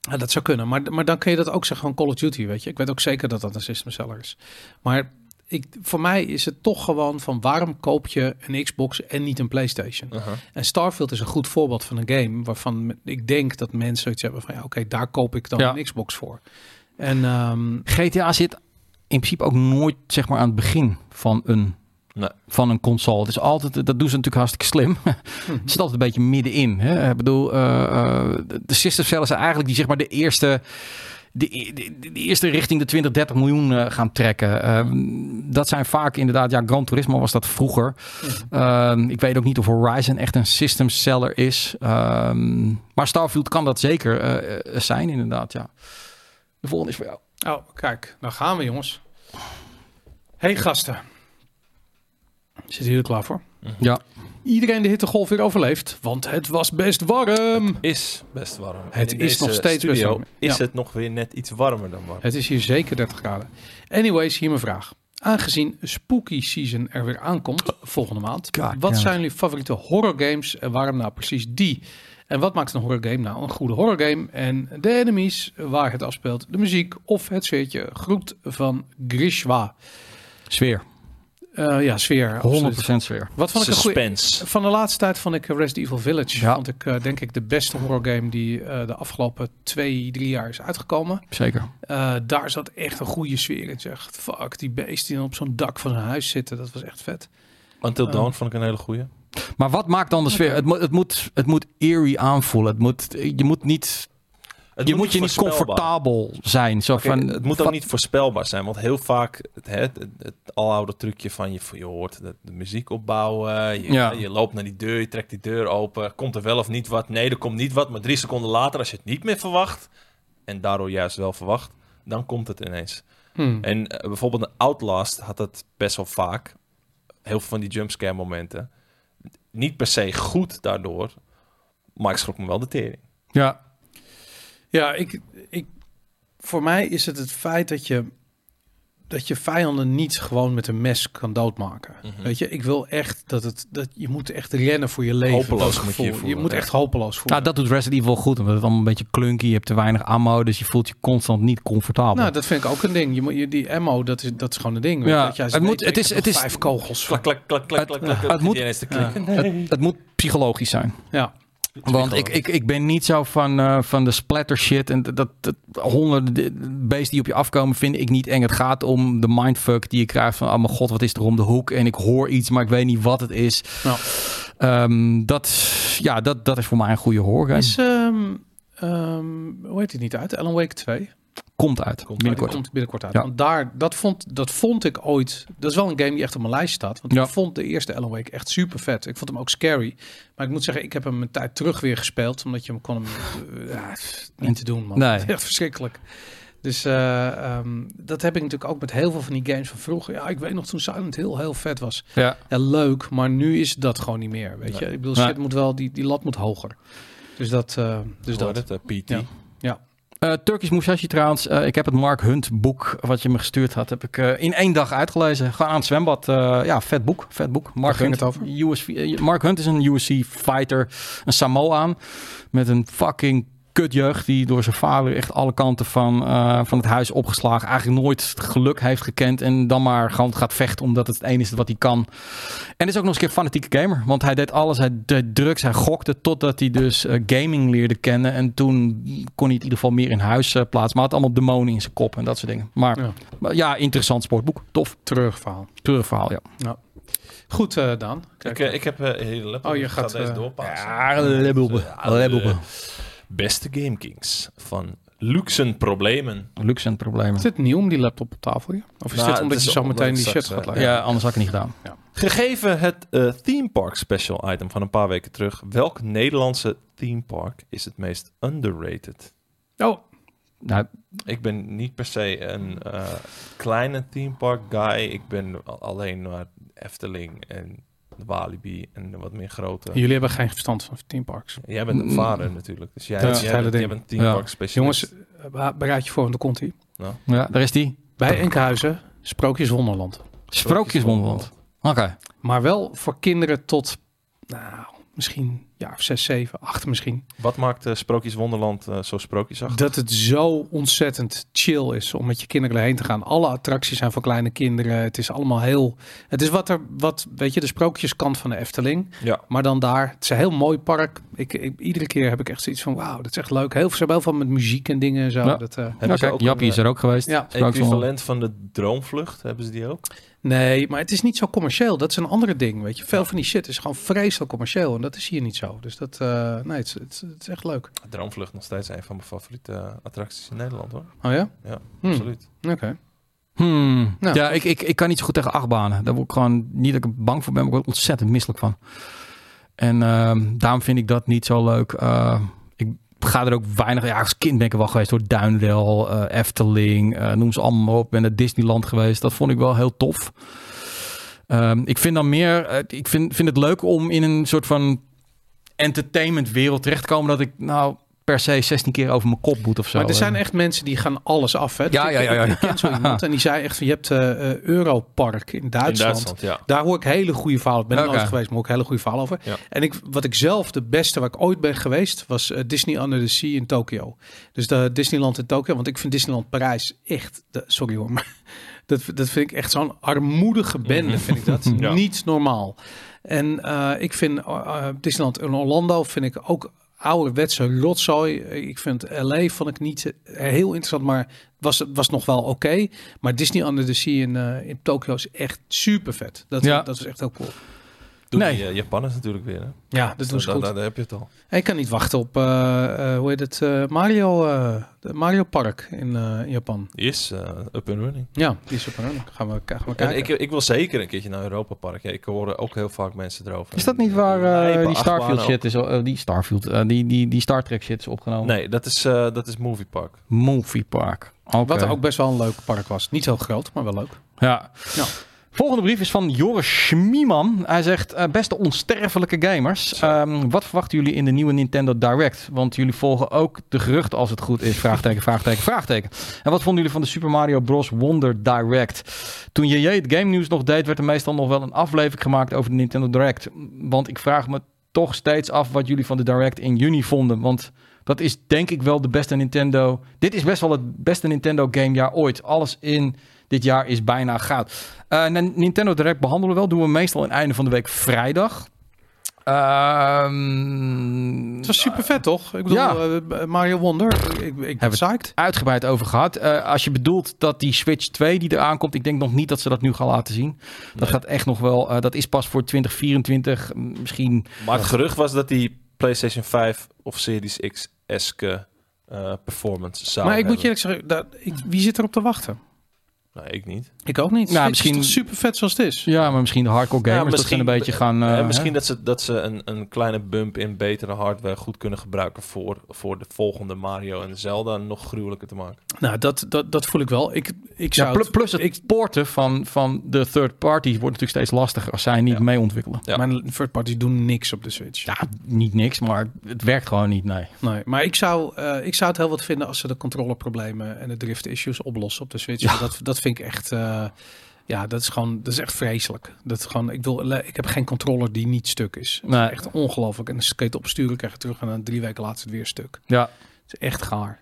Ja, dat zou kunnen. Maar, maar dan kun je dat ook zeggen van Call of Duty, weet je. Ik weet ook zeker dat dat een system seller is. Maar ik, voor mij is het toch gewoon van waarom koop je een Xbox en niet een PlayStation? En Starfield is een goed voorbeeld van een game waarvan ik denk dat mensen zoiets hebben van ja, oké, daar koop ik dan Ja. een Xbox voor. En ehm, GTA zit in principe ook nooit zeg maar, aan het begin van een, Nee. van een console. Het is altijd, dat doen ze natuurlijk hartstikke slim. Het zit altijd een beetje middenin. Hè? Ik bedoel, eh, eh, de- de system sellers zijn eigenlijk die zeg maar, de eerste... De, e- de- de eerste richting de 20, 30 miljoen eh, gaan trekken. Ehm, dat zijn vaak inderdaad, ja, Gran Turismo was dat vroeger. Ehm, ik weet ook niet of Horizon echt een system seller is. Ehm, maar Starfield kan dat zeker eh, eh, zijn, inderdaad. Ja. De volgende is voor jou. oh, kijk, nou gaan we jongens. Hey gasten. Zitten jullie er klaar voor? Ja. Iedereen de hittegolf weer overleeft, want het was best warm. Is best warm. En Het in is deze nog steeds best studio warm. Is Ja. het nog weer net iets warmer dan warm? Het is hier zeker 30 graden. Anyways, hier mijn vraag. Aangezien spooky season er weer aankomt volgende maand, God wat damn. zijn jullie favoriete horror games en waarom nou precies die? En wat maakt een horror game nou een goede horror game? En de enemies, waar het afspeelt, de muziek of het sfeertje. Groet van Grishwa. Sfeer. Eh, ja, sfeer. 100% absoluut. sfeer. Wat vond ik een goede... Suspense. Van de laatste tijd vond ik Resident Evil Village. Ja. Vond ik eh, denk ik de beste horror game die eh, de afgelopen twee, drie jaar is uitgekomen. Zeker. Eh, daar zat echt een goede sfeer in. Zeg, fuck, die beesten die dan op zo'n dak van zijn huis zitten, dat was echt vet. Until Eh. Dawn vond ik een hele goeie. Maar wat maakt dan de sfeer? Het, moet- het, moet, het moet eerie aanvoelen. Het moet, je moet, niet, Het je, moet je niet voorspelbaar. comfortabel zijn. Zo Kijk, van, het moet ook wat- niet voorspelbaar zijn, want heel vaak het, het, het, het aloude trucje van je, je hoort de, de muziek opbouwen, je, Ja. je loopt naar die deur, je trekt die deur open, komt er wel of niet wat? Nee, er komt niet wat, maar drie seconden later, als je het niet meer verwacht, en daardoor juist wel verwacht, dan komt het ineens. Hmm. En eh, bijvoorbeeld een Outlast had dat best wel vaak, heel veel van die jumpscare momenten. Niet per se goed daardoor, maar ik schrok me wel de tering. Ja, Ja, ik, ik, voor mij is het het feit dat je, dat je vijanden niet gewoon met een mes kan doodmaken. Mhm. Weet je, ik wil echt dat het, dat je moet echt rennen voor je leven. Hopeloos dat moet je gevoel. je Je voelen, moet ja. echt hopeloos voelen. nou, dat doet Resident Evil goed. Omdat het allemaal een beetje klunky. Je hebt te weinig ammo. Dus je voelt je constant niet comfortabel. Nou, dat vind ik ook een ding. Je moet, je, die ammo, dat is, dat is gewoon een ding. Ja, dat je, als het weet, moet- het ik is- heb het nog is- vijf kogels. Klak, klak, klak, klak, klak, klak, het moet- die ineens te Ja. klikken. het, het moet psychologisch zijn. Ja. Want ik, ik, ik ben niet zo van, eh, van de splatter shit. En dat, dat, dat honderden beesten die op je afkomen vind ik niet eng. Het gaat om de mindfuck die je krijgt van... oh mijn god, wat is er om de hoek? En ik hoor iets, maar ik weet niet wat het is. Nou. Ehm, dat, ja, dat, dat is voor mij een goede horror. Is, ehm, ehm, hoe heet dit niet uit? Alan Wake 2. Komt uit, Komt Die binnenkort. komt binnenkort uit. Ja. Want daar, dat vond, dat vond ik ooit. Dat is wel een game die echt op mijn lijst staat. Want Ja. ik vond de eerste Alan Wake echt super vet. Ik vond hem ook scary. Maar ik moet zeggen, ik heb hem een tijd terug weer gespeeld. Omdat je hem kon. Hem, eh, ja, niet te doen, man. Nee. Echt verschrikkelijk. Dus eh, ehm, dat heb ik natuurlijk ook met heel veel van die games van vroeger. Ja, ik weet nog toen Silent Hill heel vet was. Ja. Ja, leuk, maar nu is dat gewoon niet meer. Weet je, ik bedoel, shit Nee. moet wel, die, die lat moet hoger. Dus dat. eh, dus dus dat. dat het, eh, PT. Ja. Eh, Turkish Musashi trouwens. Eh, ik heb het Mark Hunt boek wat je me gestuurd had, heb ik eh, in één dag uitgelezen. Gewoon aan het zwembad. Eh, ja, vet boek. Vet boek. Mark Waar Hunt, ging het USV eh, Mark Hunt is een UFC fighter. Een Samoaan. Met een fucking kutjeugd die door zijn vader echt alle kanten van, eh, van het huis opgeslagen. Eigenlijk nooit geluk heeft gekend. En dan maar gewoon gaat vechten omdat het het enige is wat hij kan. En is ook nog eens een keer een fanatieke gamer. Want hij deed alles. Hij deed drugs. Hij gokte totdat hij dus eh, gaming leerde kennen. En toen kon hij het in ieder geval meer in huis eh, plaatsen. Maar had allemaal demonen in zijn kop en dat soort dingen. Maar Ja. maar ja, interessant sportboek. Tof. Terugverhaal. Terugverhaal, ja. Goed, eh Daan. Ik, Kijk, eh, ik heb eh, een hele laptop. Oh, je Ik gaat, ga deze eh, doorpassen. lebbelbe. Eh, Lebbelbe. Beste Game Kings van luxen problemen. Luxe en problemen. Is dit nieuw om die laptop op tafel? Ja? Of is Nou, dit het omdat is je zo omdat meteen ik die straks, shit gaat eh, laten? Ja, anders had ik het niet gedaan. Gegeven het eh, theme park special item van een paar weken terug, welk Nederlandse theme park is het meest underrated? Oh, Nou, Ik ben niet per se een eh, kleine theme park guy. Ik ben al- alleen naar Efteling en Walibi en de wat meer grote. jullie hebben geen verstand van theme parks. Jij bent een Mm. vader natuurlijk, dus jij, Dat is jij, Hmm. het hele bent, jij ding. bent theme Ja. park specialist. Jongens, eh, be- bereid je voor, want dan komt hij. ja, daar is die. Bij Enkhuizen, Sprookjes Wonderland. Sprookjeswonderland. Oké. Maar wel voor kinderen tot, nou, misschien een jaar of zes, zeven, acht misschien. Wat maakt eh, Sprookjes Wonderland eh, zo sprookjesachtig? Dat het zo ontzettend chill is om met je kinderen erheen te gaan. Alle attracties zijn voor kleine kinderen. Het is allemaal heel... Het is wat er, wat, weet je, de sprookjeskant van de Efteling. Ja. Maar dan daar, het is een heel mooi park. Ik, ik- iedere keer heb ik echt zoiets van, wauw, dat is echt leuk. Heel, ze hebben heel veel met muziek en dingen en zo. Ja. Dat, eh, Hebben ze Oké, ook Jappie een, is er ook geweest. ja. eh, Sprookjeswonderland. equivalent van de droomvlucht? Hebben ze die ook? Nee, maar het is niet zo commercieel. Dat is een andere ding, weet je. Veel van die shit is gewoon vreselijk commercieel. En dat is hier niet zo. Dus dat, eh, nee, het is, het, is, het is echt leuk. Droomvlucht nog steeds een van mijn favoriete eh, attracties in Nederland hoor. Oh ja? Ja, Hmm, absoluut. Oké. Hmm. Nou. Ja, ik, ik, ik kan niet zo goed tegen achtbanen. Daar word ik gewoon niet dat ik er bang voor ben, maar ik word er ontzettend misselijk van. En ehm, daarom vind ik dat niet zo leuk. Eh, ik ga er ook weinig... Ja, als kind ben ik er wel geweest door Duindel, eh, Efteling, eh, noem ze allemaal maar op. Ik ben naar Disneyland geweest. Dat vond ik wel heel tof. Ehm, ik vind dan meer... eh, ik vind, vind het leuk om in een soort van entertainmentwereld terecht te komen... dat ik nou per se 16 keer over mijn kop moet of zo. eh, Maar er zijn echt mensen die gaan alles af, hè. Ja, Ik- ja, ja, ja. Ik, ik ken zo iemand en die zei echt van, je hebt eh eh, Europark in Duitsland. In Duitsland, ja. Daar hoor ik hele goede verhalen. Ik ben er Oké. nooit geweest, maar ook hele goede verhalen over. Ja. En ik, wat ik zelf, de beste waar ik ooit ben geweest, was eh, Disney Under the Sea in Tokio. Dus de Disneyland in Tokio. Want ik vind Disneyland Parijs echt, de, sorry hoor, maar dat, dat vind ik echt zo'n armoedige bende, vind ik dat. Mhm. Ja. Niet normaal. En eh, ik vind eh, eh, Disneyland in Orlando vind ik ook ouderwetse rotzooi. Ik vind L.A. vond ik niet eh, heel interessant, maar was, was nog wel oké. Maar Disney Under the Sea in, eh, in Tokio is echt super vet. Dat, Ja. dat is echt heel cool. Doe Nee. die eh, Japanners natuurlijk weer. Hè? Ja, dat doen ze Daar- goed. daar- daar heb je het al. En ik kan niet wachten op, eh, eh, hoe heet het, eh, Mario, eh, de Mario Park in eh, Japan. Die is eh, up and running. Ja, die is super. Gaan we, gaan we En kijken. ik, ik wil zeker een keertje naar Europa Park. Ja, ik hoor ook heel vaak mensen erover. Is dat niet waar eh, Lijpe die Starfield achtbanen shit is? eh, die Starfield, eh, die, die, die Star Trek shit is ook- opgenomen? Nee, dat is, eh, dat is Movie Park. Movie Park. Oké. Wat ook best wel een leuk park was. Niet heel groot, maar wel leuk. Ja. Ja. Volgende brief is van Joris Schmieman. Hij zegt, eh, beste onsterfelijke gamers, ehm, wat verwachten jullie in de nieuwe Nintendo Direct? Want jullie volgen ook de geruchten als het goed is. Vraagteken, vraagteken, vraagteken. En wat vonden jullie van de Super Mario Bros. Wonder Direct? Toen JJ het game nieuws nog deed, werd er meestal nog wel een aflevering gemaakt over de Nintendo Direct. Want ik vraag me toch steeds af wat jullie van de Direct in juni vonden. Want dat is denk ik wel de beste Nintendo... Dit is best wel het beste Nintendo gamejaar ooit. Alles in dit jaar is bijna goud. Eh, Nin- Nintendo Direct behandelen we wel. Doen we meestal in het einde van de week vrijdag. Ehm, Het was super vet, toch? Ik bedoel, Ja. eh, Mario Wonder. Ik, ik ben Hebben- psyched. uitgebreid over gehad. Eh, als je bedoelt dat die Switch 2 die eraan komt, ik denk nog niet dat ze dat nu gaan laten zien. Dat Nee. gaat echt nog wel. eh, dat is pas voor 2024. m- Misschien. Maar het gerucht was dat die PlayStation 5 of Series X-eske eh, performance zou Maar ik moet je hebben. eerlijk zeggen, daar- ik, wie zit erop te wachten? Nou, ik niet. Ik ook niet. Nou, Nou, misschien- misschien super vet zoals het is. Ja, maar misschien de hardcore Ja, gamers dat ze misschien- een beetje gaan. eh, Eh, misschien dat ze, dat ze een, een kleine bump in betere hardware goed kunnen gebruiken voor, voor de volgende Mario en Zelda nog gruwelijker te maken. Nou, dat, dat, dat voel ik wel. Ik, ik Ja, zou pl- het- plus het ik- porten van, van de third parties wordt natuurlijk steeds lastiger als zij niet Ja. mee ontwikkelen. Ja. Mijn third parties doen niks op de Switch. Ja, niet niks, maar het werkt gewoon niet. Nee. Nee, maar ik zou, eh, ik zou het heel wat vinden als ze de controleproblemen en de drift issues oplossen op de Switch. Dat, dat vind ik echt. eh, ja, dat is gewoon, dat is echt vreselijk. Dat is gewoon, ik, wil, ik heb geen controller die niet stuk is. Dat is Nee. Echt ongelooflijk. En als ik het opsturen, krijg je terug en dan drie weken later is het weer stuk. Ja, Het is echt gaar.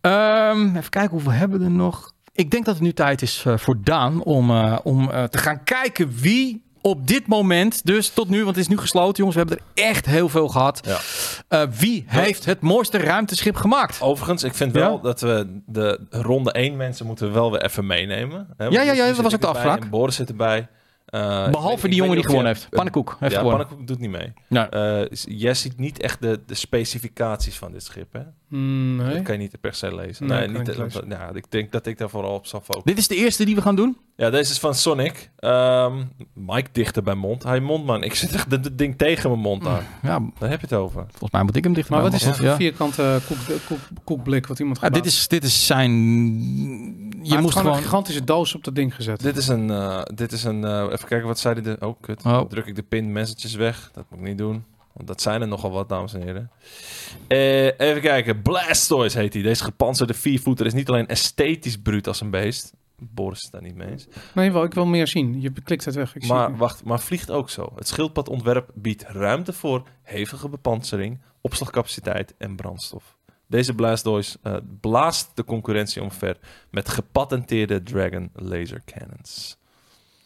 Ehm, even kijken hoeveel hebben we er nog. Ik denk dat het nu tijd is eh, voor Daan om, eh, om eh, te gaan kijken wie op dit moment, dus tot nu, want het is nu gesloten, jongens, we hebben er echt heel veel gehad. Ja. Eh, wie heeft het mooiste ruimteschip gemaakt? Overigens, ik vind wel Ja? dat we de ronde 1 mensen moeten we wel weer even meenemen. Hè, want ja, ja, nu dat zit was ik ook de erbij afspraak. En Boris zit erbij. Eh, ik weet- Behalve ik die jongen weet die niet of gewonnen jij- heeft. Pannenkoek heeft ja, gewonnen. Nou, Pannenkoek doet niet mee. Ja. Eh, is- jij ziet niet echt de, de specificaties van dit schip, hè? Mm, nee. Dat kan je niet per se lezen. Nee, Nee, kan niet, ik niet dat- lezen. nou, ik denk dat ik daar vooral op zal focussen. Dit is de eerste die we gaan doen. Ja, deze is van Sonic. Ehm Mike dichter bij mond. Hij mondman. Ik zit echt dat dat ding tegen mijn mond aan. Ja, Daar heb je het over. volgens mij moet ik hem dichter Maar wat is dat het? voor vierkante eh, koek, koek, koekblik wat iemand Ja, gaat Ah, dit, is, dit is zijn... Je moest gewoon gewoon... een gigantische doos op dat ding gezet. Dit is een. eh, dit is een eh, even kijken wat zei hij. De... Oh, kut. Oh. Dan druk ik de pin messages weg. Dat moet ik niet doen. Want dat zijn er nogal wat, dames en heren. Eh, even kijken. Blastoise heet hij. Deze gepanzerde viervoeter is niet alleen esthetisch bruut als een beest. Boris is het daar niet mee eens. Nee, wel, ik wil meer zien. Je klikt het weg. Ik zie het Maar niet. wacht, maar vliegt ook zo. Het schildpadontwerp biedt ruimte voor hevige bepantsering, opslagcapaciteit en brandstof. Deze Blastoise eh, blaast de concurrentie omver met gepatenteerde Dragon Laser Cannons.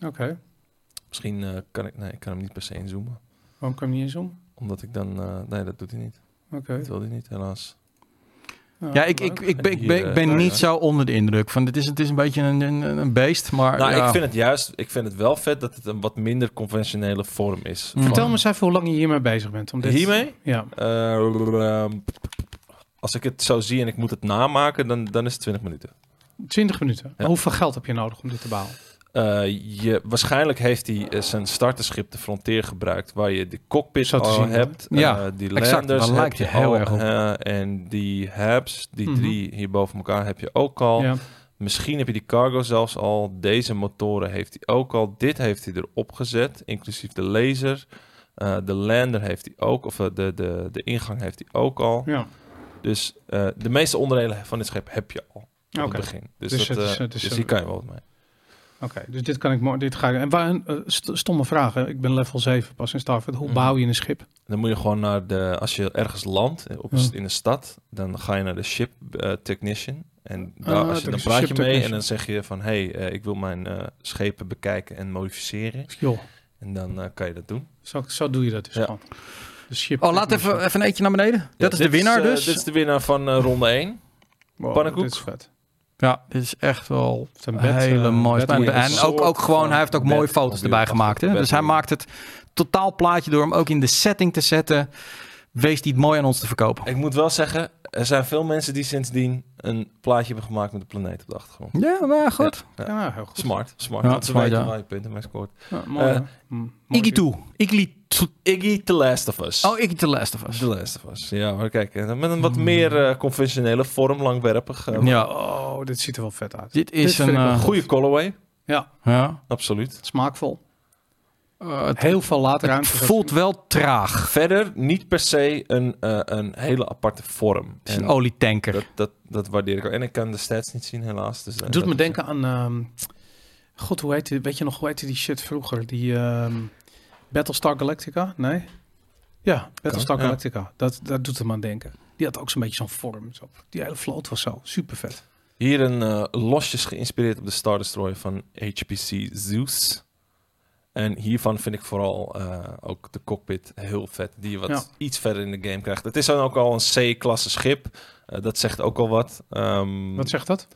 Oké, Misschien eh, kan ik, nee, ik kan hem niet per se inzoomen. waarom kan je niet eens om? Omdat ik dan, eh, nee dat doet hij niet. Oké. Dat wil hij niet, helaas. Nou, Ja, ik, leuk. ik, ik ben, ik Hier, ben, ik ben eh, niet ja. zo onder de indruk. Van, het, is, het is een beetje een, een, een beest, maar... nou, ja. ik vind het juist, ik vind het wel vet dat het een wat minder conventionele vorm is. Mm. Vertel Van- me eens even hoe lang je hiermee bezig bent. Om dit... Hiermee? Ja. Eh, ehm, als ik het zo zie en ik moet het namaken, dan, dan is het 20 minuten. 20 minuten. Maar Ja. Hoeveel geld heb je nodig om dit te bouwen? Eh, je, waarschijnlijk heeft hij eh, zijn starterschip de Frontier gebruikt, waar je de cockpit Zo te al zien, hè? hebt, Ja, eh, die exact. landers Daar heb lijkt je hij heel al, erg op. eh, en die HABs, die Mhm. drie hier boven elkaar heb je ook al. Ja. Misschien heb je die cargo zelfs al. Deze motoren heeft hij ook al. Dit heeft hij erop gezet, inclusief de laser. Eh, de lander heeft hij ook, of eh, de, de, de ingang heeft hij ook al. ja. Dus eh, de meeste onderdelen van dit schip heb je al. Op Oké. het begin. Dus, Dus dat, het is- eh, het is dus een- hier kan je wel wat mee. Oké, dus dit kan ik mooi. Dit ga ik. En waar, eh, st- stomme vraag. Hè? Ik ben level 7 pas in Starfield. Hoe Mhm. bouw je een schip? Dan moet je gewoon naar de, als je ergens landt eh, op een, Ja. st- in een stad, dan ga je naar de ship eh, technician. En daar, Ah, als je, er dan is een praat ship je mee en technician. dan zeg je van, hé, hey, eh, ik wil mijn eh, schepen bekijken en modificeren. Joh, En dan eh, kan je dat doen. zo, zo doe je dat dus Ja. gewoon. De ship Oh, laat even, even een eentje naar beneden. dat Ja, is de dit winnaar eh, dus. Dit is de winnaar van eh, ronde 1. Wow, pannenkoek. Dit is vet. Ja, dit is echt wel Het is een een bed, hele eh, mooie bed- spel. En soort ook, ook gewoon, van hij heeft ook mooie bed- foto's erbij computer- gemaakt. Hè? bed- Dus hij maakt het totaal plaatje door hem ook in de setting te zetten. Wees die het mooi aan ons te verkopen. Ik moet wel zeggen, er zijn veel mensen die sindsdien een plaatje hebben gemaakt met de planeet op de achtergrond. Ja, maar goed. Ja, heel goed. Smart, smart. Ja, Want ze smart, weten ja. waar je punten mee scoort. Ja, mooi, Eh, hè? Mm, mooi Iggy idee. toe. Iggy toe. Iggy, The Last of Us. Oh, Iggy The Last of Us. The Last of Us. Ja, maar kijk, eh, met een wat meer eh, conventionele vorm, langwerpig. eh, Ja. Oh, dit ziet er wel vet uit. Dit is vind een... ik wel eh, Goede colorway, Ja, ja. absoluut. smaakvol. Eh, het Heel veel het laadruimte. voelt wel traag. Verder niet per se een, eh, een hele aparte vorm. Het is een En olietanker. dat, dat, dat waardeer ik ook. En ik kan de stats niet zien, helaas. Dus, eh, Het dat doet me is- denken aan. ehm, God, hoe heette, weet je nog, hoe heette die shit vroeger? Die ehm, Battlestar Galactica? Nee? Ja, Battlestar ja. Galactica. Dat, dat doet het me aan denken. Die had ook zo'n beetje zo'n vorm. Zo. Die hele vloot was zo super vet. Hier een eh, losjes geïnspireerd op de Star Destroyer van HPC Zeus. En hiervan vind ik vooral eh, ook de cockpit heel vet, die je wat Ja. iets verder in de game krijgt. Het is dan ook al een C-klasse schip. Eh, dat zegt ook al wat. Ehm, Wat zegt dat?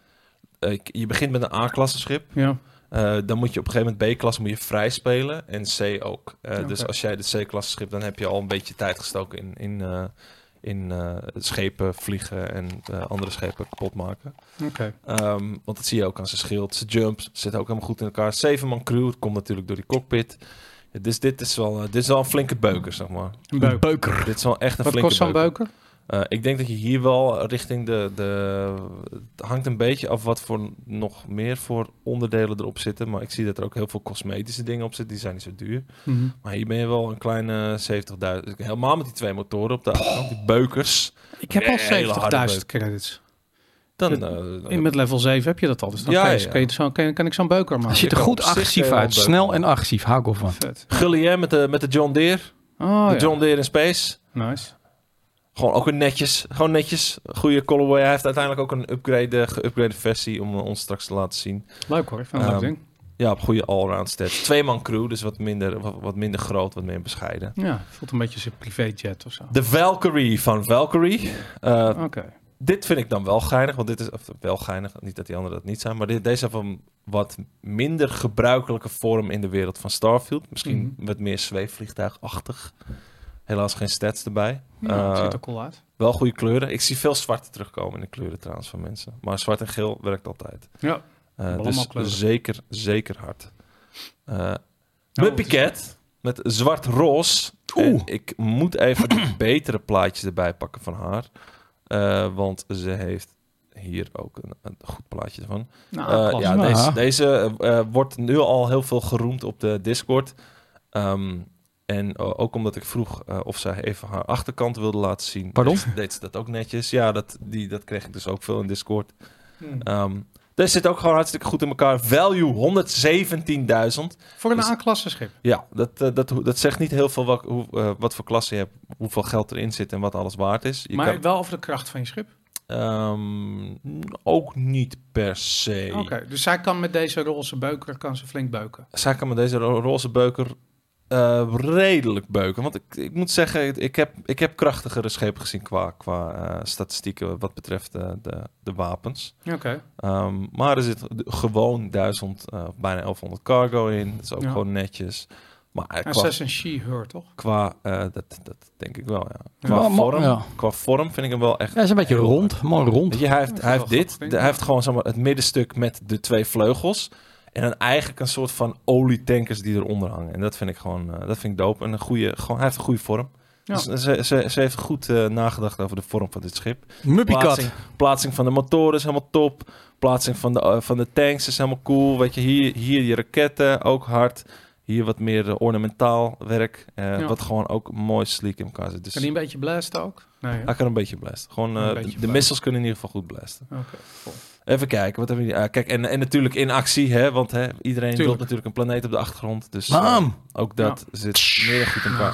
eh, je begint met een A-klasse schip. Ja. Eh, dan moet je op een gegeven moment B-klasse moet je vrij spelen en C ook. Eh, Oké. Dus als jij de C-klasse schip, dan heb je al een beetje tijd gestoken in, in, eh, in eh, schepen vliegen en eh, andere schepen kapot maken. Oké. Ehm, want dat zie je ook aan zijn schild, zijn jumps zitten ook helemaal goed in elkaar. Zeven man crew, het komt natuurlijk door die cockpit. Ja, dus dit is wel, eh, dit is wel een flinke beuker, zeg maar. Een beuk. Beuker. Dit is wel echt een Wat flinke kost zo'n beuker? eh, ik denk dat je hier wel richting de, de... Het hangt een beetje af wat voor nog meer voor onderdelen erop zitten. Maar ik zie dat er ook heel veel cosmetische dingen op zitten. Die zijn niet zo duur. Mhm. Maar hier ben je wel een kleine 70.000. Helemaal met die twee motoren op de achterkant. Die beukers. Ik heb Hele harde al beuk. 70.000 credits. Dan, Met- eh, Oh, In, met level 7 heb je dat al. Dus dan Ja, kan, je, ja, ja. kan je zo, kan, je- kan ik zo'n beuker Hij maken. ziet er Ik kan goed op zich agressief heel uit. beuken. Snel en agressief. Hou ik wel van. Vet. Gully, hè, met de, met de John Deere. Oh de ja, John Deere in space. nice. Gewoon ook een netjes. Gewoon netjes. Goede colorway. Hij heeft uiteindelijk ook een upgrade, eh, geüpgrade versie om eh, ons straks te laten zien. Leuk hoor, ik vind het een Ehm, leuk ding. Ja, op goede allround stats. Twee man crew, dus wat minder, wat, wat minder groot, wat meer bescheiden. Ja, voelt een beetje als een privéjet of zo. De Valkyrie van Valkyrie. Eh, Oké. Dit vind ik dan wel geinig, want dit is of, wel geinig. Niet dat die anderen dat niet zijn, maar dit, deze van wat minder gebruikelijke vorm in de wereld van Starfield. Misschien Mhm. wat meer zweefvliegtuigachtig. Helaas geen stats erbij. Nou, het Eh, ziet er cool uit. wel goede kleuren. Ik zie veel zwarte terugkomen in de kleuren trouwens van mensen. Maar zwart en geel werkt altijd. Ja. Eh, Allemaal dus kleuren. Nou, zeker, zeker hard. Eh Muppy Cat met zwart-roos. Oeh. En Ik moet even de betere plaatjes erbij pakken van haar. Eh, want ze heeft hier ook een, een goed plaatje van. Eh, Nou, ja, Ja. deze, deze eh, eh, wordt nu al heel veel geroemd op de Discord. Ehm, en eh, ook omdat ik vroeg eh, of zij even haar achterkant wilde laten zien. Pardon? Deed, deed ze dat ook netjes. Ja, dat, die, dat kreeg ik dus ook veel in Discord. Nou, Ehm deze zit ook gewoon hartstikke goed in elkaar. Value 117.000. Voor een dus- A-klasse schip. Ja, dat, eh, dat, dat zegt niet heel veel wat, hoe, eh, wat voor klasse je hebt, hoeveel geld erin zit en wat alles waard is. Je maar kan, wel over de kracht van je schip. ehm, ook niet per se. Oké, dus zij kan met deze roze beuker kan ze flink beuken. Zij kan met deze ro- roze beuker eh, redelijk beuken. Want ik, ik moet zeggen, ik- ik heb, ik heb krachtigere schepen gezien qua, qua eh, statistieken wat betreft eh, de, de wapens. Oké. Ehm, maar er zit gewoon 1000, eh, bijna 1100 cargo in. Dat is ook Ja. gewoon netjes. Maar eh, En qua, zij is een she-her, toch? qua eh, dat, dat denk ik wel, ja. Ja. Qua, Ja, mo- vorm, ja. qua vorm vind ik hem wel echt... Hij is een beetje heel rond, mooi rond. Weet je, hij heeft, Dat hij is heeft wel dit. grappig, denk ik. hij heeft gewoon zeg maar, het middenstuk met de twee vleugels. En dan eigenlijk een soort van olietankers die eronder hangen. En dat vind ik gewoon eh, dat vind ik dope. En een goede, gewoon, hij heeft een goede vorm. Ja. Dus ze, ze, ze heeft goed eh, nagedacht over de vorm van dit schip. Muppy Plaatsing, Cat. plaatsing van de motoren is helemaal top. Plaatsing van de, eh, van de tanks is helemaal cool. Weet je, hier, hier je raketten ook hard. Hier wat meer eh, ornamentaal werk. eh, Ja. Wat gewoon ook mooi sleek in elkaar zit. Dus Kan die een beetje blasten ook? Nee, hè? hij kan een beetje blasten. Gewoon, eh, Een beetje de- de blasten. missiles kunnen in ieder geval goed blasten. Oké, cool. Even kijken, wat hebben we hier? Ah, kijk, en, en natuurlijk in actie, hè, want hè, iedereen wil Tuurlijk. natuurlijk een planeet op de achtergrond. Dus eh, Bam! ook dat zit meer dan goed in elkaar.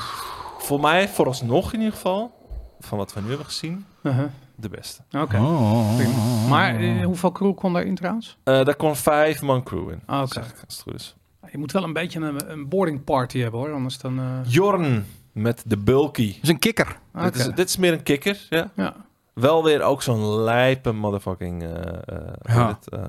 Voor mij, vooralsnog in ieder geval, van wat we nu hebben gezien, Uh-huh. de beste. Oké. Oh, oh, oh, oh. Maar eh, hoeveel crew kon daarin trouwens? Eh, daar kon vijf man crew in, Ah, Oké. zeg ik, als het goed is. Je moet wel een beetje een, een boarding party hebben hoor, anders dan... eh, Jorn met de bulky. Dat is een kikker. Dit, is, oké. dit is meer een kikker, ja. Ja. Wel weer ook zo'n lijpe motherfucking eh, eh, hoe heet Ja. het, eh,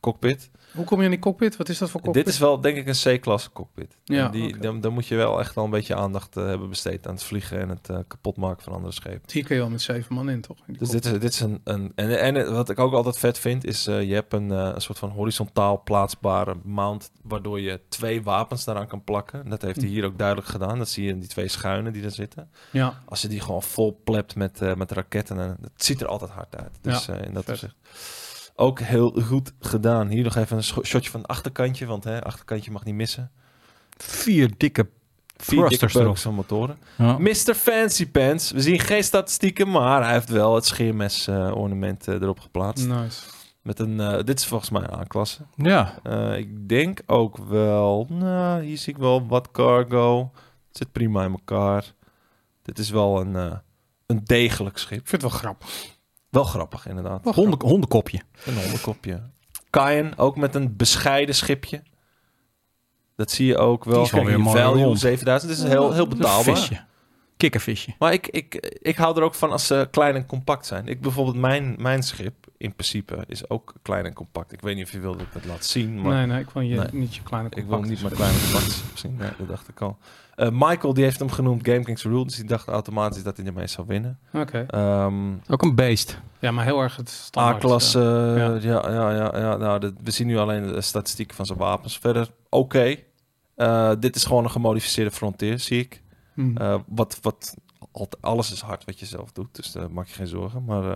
cockpit. Hoe kom je in die cockpit? Wat is dat voor cockpit? Dit is wel denk ik een C-klasse cockpit. Ja, En die, oké. dan, dan moet je wel echt al een beetje aandacht eh, hebben besteed aan het vliegen en het eh, kapotmaken van andere schepen. Hier kun je wel met zeven man in, toch? In die Dus cockpit. dit is, dit is een... een en, en wat ik ook altijd vet vind, is eh, je hebt een, eh, een soort van horizontaal plaatsbare mount... waardoor je twee wapens daaraan kan plakken. Dat heeft hij Hm. hier ook duidelijk gedaan. Dat zie je in die twee schuinen die er zitten. Ja, Als je die gewoon vol plept met, eh, met raketten, dan, het ziet er altijd hard uit. Dus eh, in dat vet. opzicht. Ook heel goed gedaan. Hier nog even een scho- shotje van het achterkantje, want hè, achterkantje mag niet missen. Vier dikke Vier dikke thrusters erop. perks van motoren. Ja. Mr. Fancy Pants. We zien geen statistieken, maar hij heeft wel het scheermes-ornament eh, erop geplaatst. nice. Met een, eh, dit is volgens mij een A-klasse. ja. Eh, ik denk ook wel... Nou, hier zie ik wel wat cargo. Het zit prima in elkaar. Dit is wel een, eh, een degelijk schip. Ik vind het wel grappig. Wel grappig, inderdaad. Wel Honden, hondenkopje. Een hondenkopje. Cayenne, ook met een bescheiden schipje. Dat zie je ook wel. Die is wel Kijk, weer die mooi value rond. 7000. Dit is heel, heel betaalbaar. Visje. Kikkervisje. Maar ik, ik, ik hou er ook van als ze klein en compact zijn. Ik bijvoorbeeld, mijn, mijn schip in principe is ook klein en compact. Ik weet niet of je wilde dat ik het laat zien, maar Nee, nee, ik wil je, Nee. niet je kleine ik wil compacte niet mijn schip. klein en compact schip zien. Nee, dat dacht ik al. Eh, Michael, die heeft hem genoemd Game Kings Rule. Dus die dacht automatisch dat hij ermee zou winnen. Oké. Ehm, Ook een beest. Ja, maar heel erg het standaard. A-klasse, Ja. eh, ja, ja, ja. ja nou, dit- we zien nu alleen de statistieken van zijn wapens. Verder, oké. Eh, dit is gewoon een gemodificeerde frontier, zie ik. eh, mm. Eh, wat, wat, al- alles is hard wat je zelf doet, dus daar maak je geen zorgen. Maar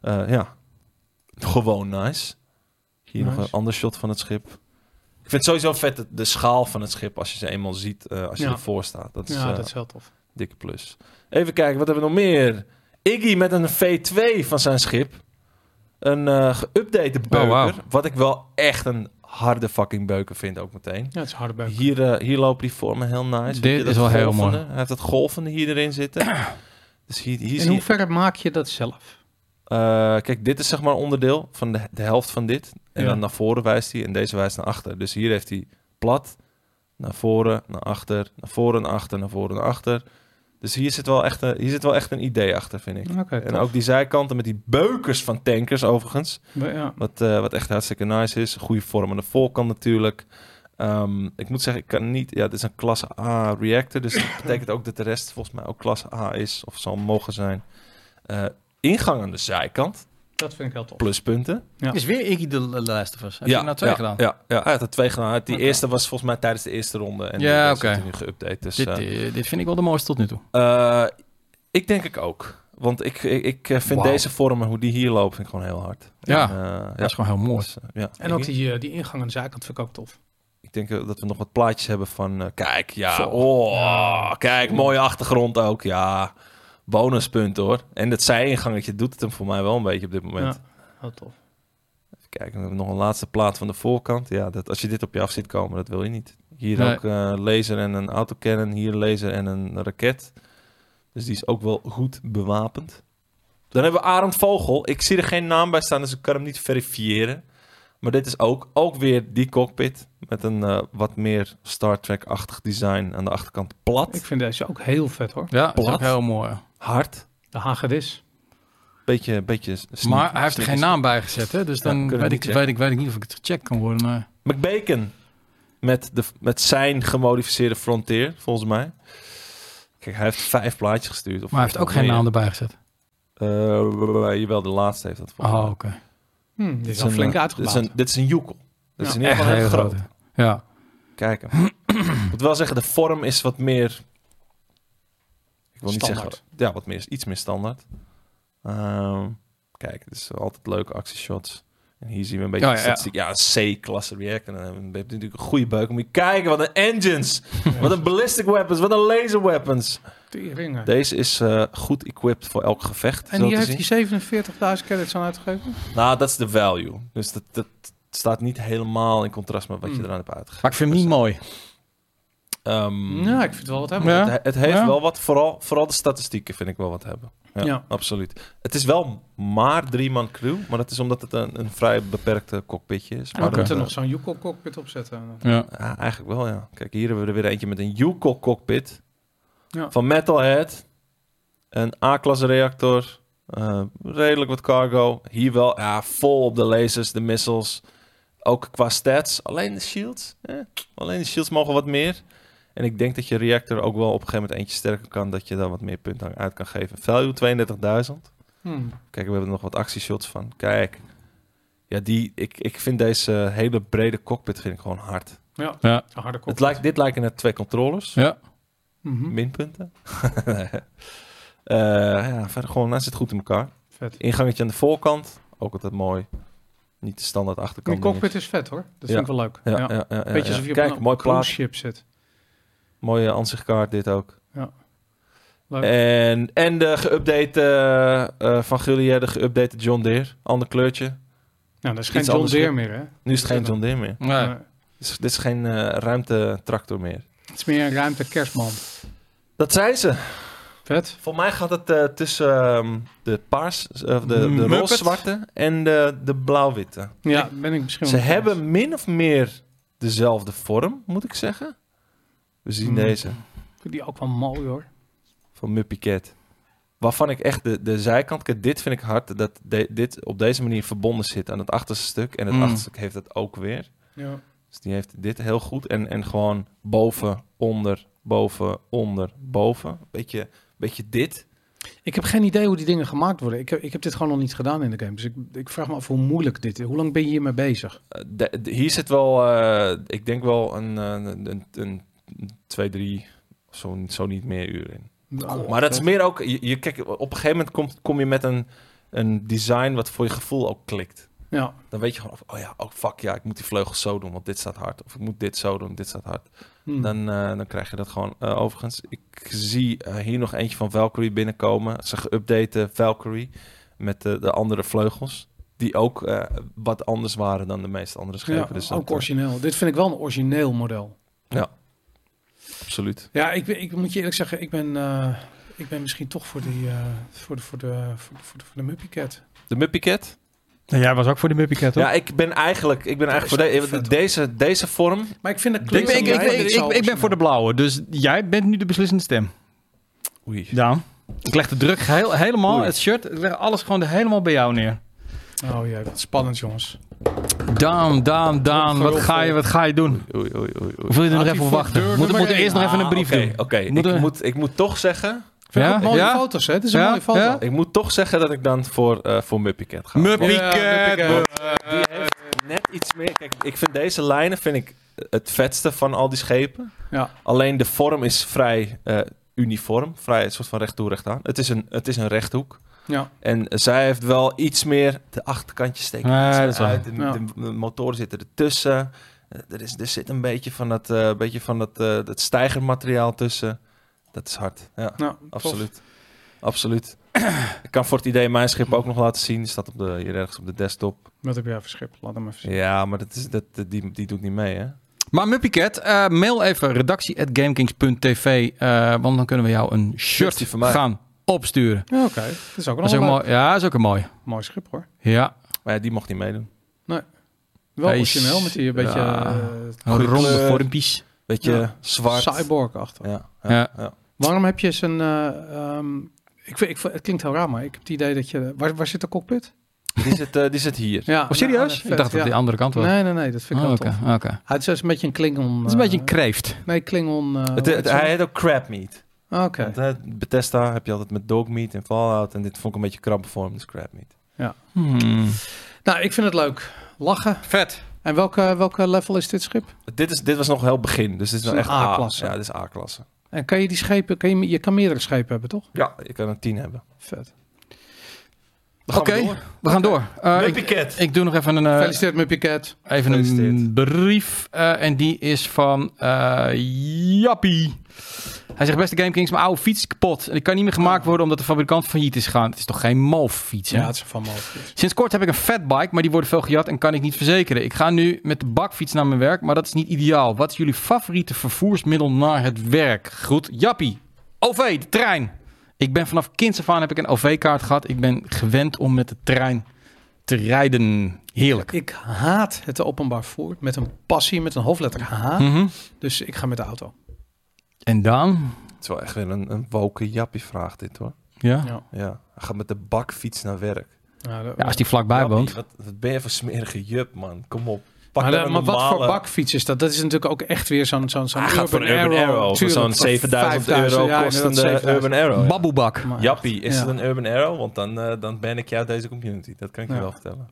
eh, eh, ja, gewoon nice. Hier nog Nice. een ander shot van het schip. Ik vind het sowieso vet de, de schaal van het schip als je ze eenmaal ziet, eh, als je Ja. ervoor staat. Dat is, ja, eh, dat is heel tof. dikke plus. Even kijken, wat hebben we nog meer? Iggy met een V2 van zijn schip. Een eh geüpdate beuker. Oh, wauw. Wat ik wel echt een harde fucking beuker vind ook meteen. Ja, het is harde beuken. Hier, eh, hier lopen die vormen heel nice. Weet Dit je, dat is wel heel golvende? mooi. Hij heeft dat golvende hier erin zitten. dus hier, hier In zie je... hoeverre maak je dat zelf? eh, kijk, dit is zeg maar onderdeel van de, de helft van dit. En Ja. dan naar voren wijst hij en deze wijst naar achter. Dus hier heeft hij plat, naar voren, naar achter, naar voren, naar achter, naar voren, naar achter. Dus hier zit, wel echt een, hier zit wel echt een idee achter, vind ik. Oké, En tof. ook die zijkanten met die beukers van tankers, overigens. Ja. Wat, eh, wat echt hartstikke nice is. Goede vorm aan de voorkant natuurlijk. Ehm, ik moet zeggen, ik kan niet... Ja, dit is een klasse A reactor. Dus dat betekent ook dat de rest volgens mij ook klasse A is. Of zal mogen zijn. Eh, ingang aan de zijkant. Dat vind ik heel tof. Pluspunten. Ja. Is weer Iggy de de Last of Us. Heb je nou twee ja, gedaan? Ja, ja, hij had er twee gedaan. Hij had Die Oké. eerste was volgens mij tijdens de eerste ronde. En Ja, die oké. is nu geüpdate. Dus, Dit, eh, eh, dit vind ik wel de mooiste tot nu toe. eh, ik denk ik ook. Want ik, ik, ik eh, vind Wauw. deze vormen, hoe die hier lopen, vind ik gewoon heel hard. Ja, En, eh, ja. Dat is gewoon heel mooi. Dus, eh, ja. En ook ik, die, eh, die ingang aan de zijkant vind ik ook tof. ik denk eh, dat we nog wat plaatjes hebben van... eh, kijk, ja. Zo. Oh, Ja. Kijk, mooie achtergrond ook. Ja, bonuspunt hoor. En dat zij-ingangetje doet het hem voor mij wel een beetje op dit moment. Ja, heel tof. Even kijken, we hebben nog een laatste plaat van de voorkant. Ja, dat, als je dit op je af ziet komen, dat wil je niet. Hier Nee. ook eh, laser en een autocannon. Hier laser en een raket. Dus die is ook wel goed bewapend. Dan hebben we Arend Vogel. Ik zie er geen naam bij staan, dus ik kan hem niet verifiëren. Maar dit is ook, ook weer die cockpit. Met een eh, wat meer Star Trek-achtig design. Aan de achterkant Ik plat, vind deze ook heel vet hoor. Ja, dat is ook Plat. heel mooi. hard. De hagedis. Beetje, beetje sneak- Maar hij heeft er sneak- geen naam bij gezet, hè? Dus Ja, dan kunnen we weet, niet ik, checken. weet, ik, weet ik niet of ik het gecheckt kan worden. maar- McBacon. Met, de, met zijn gemodificeerde Frontier, volgens mij. Kijk, hij heeft vijf plaatjes gestuurd. Of Maar hij heeft ook geen naam erbij gezet. Eh, jawel, de laatste heeft dat volgens Oh, mij. oké. Hm, die is een, al flink eh, uitgebouwd. Dit is een, dit is een joekel. Ja, Dit is in ieder geval heel groot. Ja. Kijk hem. Ik moet wel zeggen, de vorm is wat meer... Ik wil niet Standaard. zeggen... Ja, wat meer, iets meer standaard. Ehm, kijk, dit is altijd leuke actieshots. En hier zien we een beetje Ja, de ja, statistiek. Ja, een C-klasse reactor. En dan heb je natuurlijk een goede buik. Moet je kijken, wat een engines. Wat een ballistic weapons. Wat een laser weapons. Teringen. Deze is eh, goed equipped voor elk gevecht. En zo hier te heeft zien. hij 47.000 credits aan uitgegeven. Nou, dat is de value. Dus dat, dat staat niet helemaal in contrast met wat je Hmm. eraan hebt uitgegeven. Maar ik vind hem niet mooi. Ehm, Ja, ik vind het wel wat hebben. Ja. Het, het heeft Ja. wel wat, vooral, vooral de statistieken vind ik wel wat hebben. Ja, Ja. absoluut. Het is wel maar drie man crew, maar dat is omdat het een, een vrij beperkte cockpitje is. En Ah, we Maar dat, moeten eh, nog zo'n Yukon cockpit opzetten. Ja. ja, eigenlijk wel, ja. Kijk, hier hebben we er weer eentje met een Yukon cockpit Ja. van Metalhead. Een A-klasse reactor. eh, redelijk wat cargo. Hier wel, ja, vol op de lasers, de missiles. Ook qua stats. Alleen de shields. eh, alleen de shields mogen wat meer. En ik denk dat je reactor ook wel op een gegeven moment eentje sterker kan. Dat je daar wat meer punten aan uit kan geven. Value 32.000. Hm. Kijk, we hebben er nog wat actieshots van. Kijk. Ja, die, ik, ik vind deze hele brede cockpit vind ik gewoon hard. Ja, Ja. een harde cockpit. Het lijkt, dit lijken net twee controllers. Ja. Mhm. Minpunten. Eh, ja, verder gewoon, hij zit goed in elkaar. Vet. Ingangetje aan de voorkant, ook altijd mooi. Niet de standaard achterkant. Die cockpit is vet hoor. Dat Ja. vind ik wel leuk. Ja, Ja. ja. Ja, ja, Beetje ja. alsof je Eh, Kijk, op een mooi cruise plaat, ship zit. mooie ansichtkaart dit ook. Leuk. Eh, En, en de geüpdate eh, eh, van Gullier, de geüpdate John Deere. Ander kleurtje. nou, dat is geen iets John anders Deere weer. meer hè. Nu is het geen John Deere meer. Nee. Nee. Dit is, dit is geen eh, ruimtetractor meer. het is meer een ruimte kerstman. Dat zijn ze. Vet. Voor mij gaat het eh, tussen ehm, de paars, eh, de, de Muppet. roze-zwarte en de, de blauw-witte. Ja, ben ik misschien Ze wel mee eens. hebben min of meer dezelfde vorm, moet ik zeggen. We zien Hmm. deze Ik vind die ook wel mooi hoor. van Muppy Cat. Waarvan ik echt de, de zijkant... Kijk, dit vind ik hard, dat de- dit op deze manier verbonden zit aan het achterste stuk. En het Hmm. achterste stuk heeft dat ook weer. Ja. Dus die heeft dit heel goed. En, en gewoon boven, onder, boven, onder, boven. Beetje, beetje dit. Ik heb geen idee hoe die dingen gemaakt worden. Ik heb, ik heb dit gewoon nog niet gedaan in de game. Dus ik, ik vraag me af hoe moeilijk dit is. Hoe lang ben je hiermee bezig? Eh, de- de- hier zit wel, eh, ik denk wel een, eh, een, een, een twee, drie, zo, zo niet meer uur in. Maar Oh, dat is meer ook, je, je- kijk, op een gegeven moment kom, kom je met een, een design wat voor je gevoel ook klikt. Ja, Dan weet je gewoon, van, oh ja, oh fuck ja, ik moet die vleugels zo doen, want dit staat hard. Of ik moet dit zo doen, dit staat hard. Hm. Dan, eh, dan krijg je dat gewoon. Eh, overigens, ik zie eh, hier nog eentje van Valkyrie binnenkomen. Ze geüpdate Valkyrie met de, de andere vleugels. Die ook eh, wat anders waren dan de meeste andere schepen. ja, dus dat, ook eh, origineel. Dit vind ik wel een origineel model. absoluut. Ja, ik, ben- ik moet je eerlijk zeggen, ik ben, eh, ik ben misschien toch voor, die, eh, voor, de, voor, de, voor, de, voor, de, voor de Muppy Cat. De Muppy Cat? jij was ook voor de Muppy Cat, Ja, ik ben eigenlijk, ik ben eigenlijk is voor ook de- vet, deze, deze vorm. Maar ik vind het Ik, klinkt ben, ik, wel ik, leuk dat ik, dit zo ik- ik ben voor de blauwe, dus jij bent nu de beslissende stem. Oei. Daan, ik leg de druk heel, helemaal, Oei. het shirt, ik leg alles gewoon helemaal bij jou neer. Oh jee, wat spannend jongens. Daan, Daan, Daan, wat Geroffel. ga je, wat ga je doen? Oei, oei, oei, oei. Of wil je er nog Had even hij op voor wachten? deur Moet- Moet, nummer ik één? eerst nog even een brief Ah, Oké, doen? oké. Ik, Moeten we- moet, ik moet toch zeggen... Ja? Ja? Ook mooie Ja? foto's hè, het is een Ja? mooie foto. Nou, Ja? Ik moet toch zeggen dat ik dan voor, eh voor Muppy Cat ga. Muppy Ja, Cat. Muppy Die Eh, heeft net iets meer... Kijk, ik vind deze lijnen vind ik het vetste van al die schepen. Ja. Alleen de vorm is vrij eh, uniform. Vrij een soort van recht toe, recht aan. Het is een, het is een rechthoek. Ja. En zij heeft wel iets meer... De achterkantjes steken Nee, iets dat meer is waar. uit. De, Ja. de- de motoren zitten ertussen. Eh, Er, is, er zit een beetje van dat, eh, beetje van dat, eh, dat stijgermateriaal tussen. Dat is hard. Ja, Nou, tof. absoluut. Absoluut. ik kan voor het idee mijn schip ook nog laten zien. Die staat op de, hier ergens op de desktop. Wat heb jij voor schip? Laat hem even zien. Ja, maar dat is, dat, dat- die, die doet niet mee, hè? Maar Muppy Cat, eh, mail even redactie.gamekings.tv, eh, want dan kunnen we jou een Shirtje shirt van mij. gaan opsturen. Ja, oké. Dat is ook Dat nog is ook een mooi. mooi. Ja, dat is ook een mooi. mooi schip hoor. Ja, Maar ja, die mocht niet meedoen. Wel Hij is- origineel met die een beetje Ja. eh, een ronde kleur. vormpjes. Weet je, Ja. zwart. cyborg achter. Ja, ja, Ja. ja. Waarom heb je zo'n... eh, ehm, ik, vind- ik, vind- het klinkt heel raar, maar ik heb het idee dat je... Waar, waar zit de cockpit? Die, zit, eh, die zit hier. Ja, Oh, serieus? Ik dacht dat die ja. andere kant was. Nee, nee, nee. Dat vind ik Oh, wel Oké, tof. oké. Hij is een beetje een klingon... Het is een beetje een eh, kreeft. Nee, klingon... eh, Het, hoe het- heet ze? hij heet ook crab meat. Ah, Oké. Want, eh, Bethesda heb je altijd met dog meat en Fallout. En dit vond ik een beetje krampenvorm, dus crab meat. Hmm. Nou, ik vind het leuk. Lachen. Vet. En welke, welke level is dit schip? Dit, is, dit was nog heel begin, dus dit is Het nog is echt een A-klasse. Ja, dit is A-klasse. En kan je die schepen... Kan je, je kan meerdere schepen hebben, toch? Ja, je kan een 10 hebben. Vet. Dan gaan we Oké. door. We gaan door. Eh, ik, Cat. ik doe nog even een, eh, Gefeliciteerd met Piquet. even een Gefeliciteerd. brief. eh, en die is van eh, Jappie. Hij zegt, beste GameKings, mijn oude fiets is kapot. En die kan niet meer gemaakt worden omdat de fabrikant failliet is gegaan. Het is toch geen malf fiets, hè? Oh. Ja, het is van mogelijk. Sinds kort heb ik een fatbike, maar die worden veel gejat en kan ik niet verzekeren. Ik ga nu met de bakfiets naar mijn werk, maar dat is niet ideaal. Wat is jullie favoriete vervoersmiddel naar het werk? Goed, Jappie. OV, de trein. Ik ben vanaf kinds af aan heb ik een OV-kaart gehad. Ik ben gewend om met de trein te rijden. Heerlijk. Ik haat het openbaar vervoer met een passie, met een hoofdletter Hm. H. Mhm. Dus ik ga met de auto. En dan? Het is wel echt weer een, een woke jappie vraag dit hoor. Ja. Ja. Ja, hij gaat met de bakfiets naar werk. Ja, dat- Ja, als die vlakbij Jappie, woont. wat, wat ben je voor smerige jup man, kom op. Pak maar, dan de- een maar wat voor normale- bakfiets is dat? Dat is natuurlijk ook echt weer zo'n zo'n zo'n Hij gaat voor Urban Arrow, voor Tuurlijk, zo'n voor 7000 5000, euro ja, kostende inderdaad, 7000. Urban Arrow. hè? Baboebak. Maar- Jappie, is Ja. het een Urban Arrow? Want dan, eh, dan ben ik jou uit deze community. Dat kan ik Ja. je wel vertellen.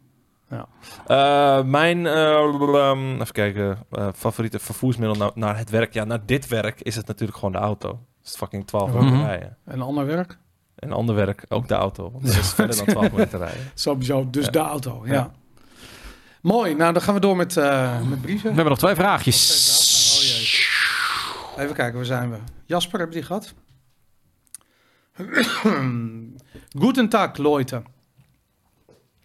Ja. Eh, mijn, eh, blablabla, even kijken, eh, favoriete vervoersmiddel na- naar het werk. Ja, naar dit werk is het natuurlijk gewoon de auto. Het is fucking 12 minuten Mhm. rijden. Een ander werk? En ander werk, ook de auto. Want dat is verder dan 12 minuten rijden. Sowieso, dus Ja. de auto, ja. Ja. Mooi, nou dan gaan we door met, eh, met We brieven. hebben nog twee vraagjes. Oh, jee. Even kijken, waar zijn we? Jasper, hebben die gehad? Guten Tag, Leute.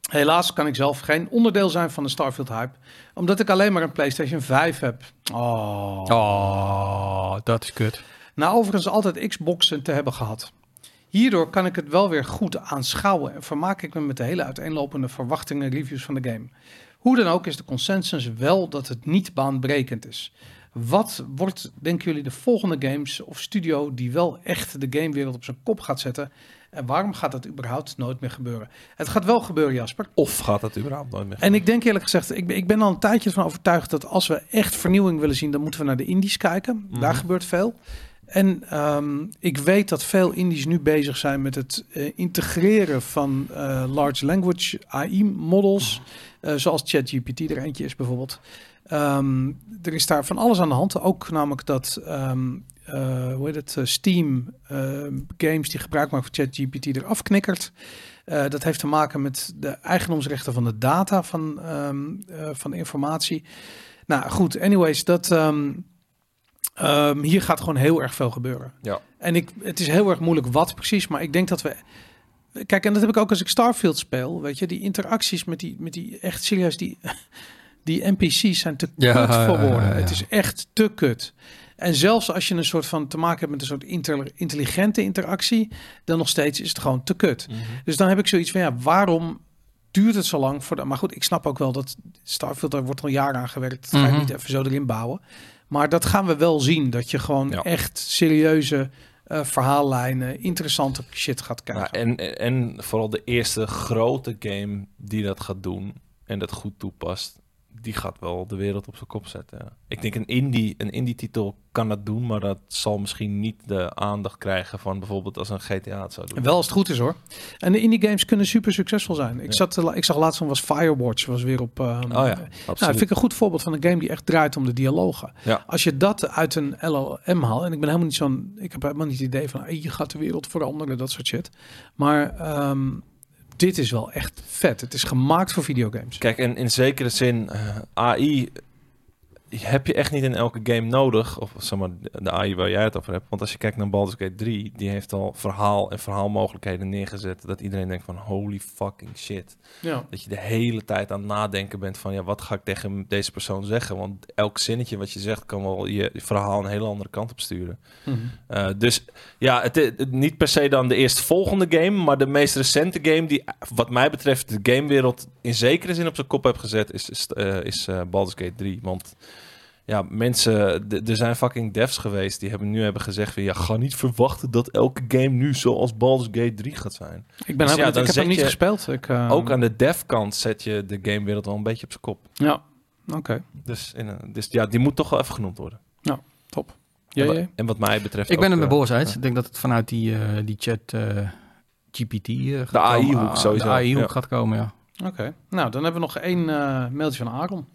Helaas kan ik zelf geen onderdeel zijn van de Starfield hype, omdat ik alleen maar een PlayStation 5 heb. Oh. Oh, dat is kut. Na Nou, overigens altijd Xboxen te hebben gehad. Hierdoor kan ik het wel weer goed aanschouwen en vermaak ik me met de hele uiteenlopende verwachtingen en reviews van de game. Hoe dan ook is de consensus wel dat het niet baanbrekend is. Wat wordt, denken jullie, de volgende games of studio die wel echt de gamewereld op zijn kop gaat zetten? En waarom gaat dat überhaupt nooit meer gebeuren? Het gaat wel gebeuren, Jasper. Of gaat dat überhaupt nooit meer En ik denk eerlijk gezegd, ik, ben- ik ben al een tijdje van overtuigd dat als we echt vernieuwing willen zien, dan moeten we naar de indies kijken. Daar gebeurt veel. En ehm, ik weet dat veel indies nu bezig zijn met het eh, integreren van eh, large language AI-models, eh, zoals ChatGPT er eentje is bijvoorbeeld. Ehm, er is daar van alles aan de hand. Ook namelijk dat ehm, eh, hoe heet het, eh, Steam eh, games die gebruik maken van ChatGPT eraf knikkert. Eh, dat heeft te maken met de eigendomsrechten van de data van, ehm, eh, van de informatie. Nou goed, anyways, dat, ehm, ehm, hier gaat gewoon heel erg veel gebeuren. Ja. En ik, het is heel erg moeilijk wat precies, maar ik denk dat we. Kijk, en dat heb ik ook als ik Starfield speel. Weet je, die interacties met die, met die echt serieus, die, die NPC's zijn te Ja, kut voor ja, ja, woorden. ja. Het is echt te kut. En zelfs als je een soort van te maken hebt met een soort inter- intelligente interactie, dan nog steeds is het gewoon te kut. Dus dan heb ik zoiets van ja, waarom duurt het zo lang voor de. Maar goed, ik snap ook wel dat Starfield, daar wordt al jaren aan gewerkt. Dat ga Mhm. je niet even zo erin bouwen. Maar dat gaan we wel zien. Dat je gewoon Ja. echt serieuze eh, eh, verhaallijnen, interessante shit gaat Nou, krijgen. en, en- en vooral de eerste grote game die dat gaat doen en dat goed toepast, die gaat wel de wereld op zijn kop zetten. ja. Ik denk een indie, een indie titel kan dat doen, maar dat zal misschien niet de aandacht krijgen van bijvoorbeeld als een GTA het zou doen. En wel als het goed is hoor. En de indie games kunnen super succesvol zijn. Ik, Ja. zat, te la- ik zag laatst van was Firewatch, was weer op. eh, Oh ja, eh, absoluut. Nou, dat vind ik een goed voorbeeld van een game die echt draait om de dialogen. Ja. Als je dat uit een LLM haalt, en ik ben helemaal niet zo'n, ik heb helemaal niet het idee van, hey, je gaat de wereld veranderen, dat soort shit. Maar ehm, dit is wel echt vet. Het is gemaakt voor videogames. Kijk, en in zekere zin, eh, AI heb je echt niet in elke game nodig. Of zeg maar, de AI waar jij het over hebt. Want als je kijkt naar Baldur's Gate 3, die heeft al verhaal en verhaalmogelijkheden neergezet. Dat iedereen denkt van, holy fucking shit. Ja. Dat je de hele tijd aan het nadenken bent van, ja, wat ga ik tegen deze persoon zeggen? Want elk zinnetje wat je zegt kan wel je verhaal een hele andere kant op sturen. Eh, dus ja, het, het- niet per se dan de eerstvolgende game, maar de meest recente game die wat mij betreft de gamewereld in zekere zin op zijn kop heeft gezet, is, is, eh, is eh, Baldur's Gate 3. Want ja, mensen, d- er zijn fucking devs geweest die hebben nu hebben gezegd van ja, ga niet verwachten dat elke game nu zoals Baldur's Gate 3 gaat zijn. Ik ben Dus ja, helemaal niet- dan ik heb zet hem niet je- gespeeld. Ik, eh, Ook aan de dev kant zet je de gamewereld wel een beetje op zijn kop. Ja, oké, Dus, in, een- dus ja, die moet toch wel even genoemd worden. top. En, Jij, wa- jij? en wat mij betreft Ik ben ook, er met eh, Boris uit. Ik denk dat het vanuit die, eh, die chat eh, GPT eh, gaat De AI -hoek komen. Ah, sowieso, De AI-hoek ja. gaat komen, ja. Oké, nou dan hebben we nog één eh, mailtje van Aaron.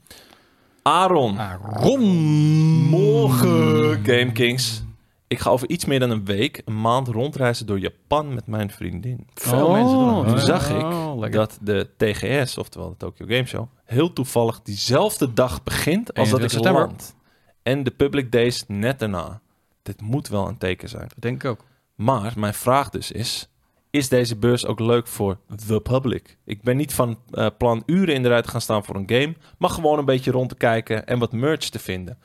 Aaron. Ah, Ron. Morgen, Game Kings. Ik ga over iets meer dan een week, een maand rondreizen door Japan met mijn vriendin. Veel Oh, mensen doen dat. toen Oh, zag ik oh, lekker. Dat de TGS, oftewel de Tokyo Game Show, heel toevallig diezelfde dag begint als dat 21 ik september. land. En de public days net daarna. Dit moet wel een teken zijn. Dat denk ik ook. Maar mijn vraag dus is: is deze beurs ook leuk voor the public? Ik ben niet van eh, plan uren in de rij te gaan staan voor een game, maar gewoon een beetje rond te kijken en wat merch te vinden.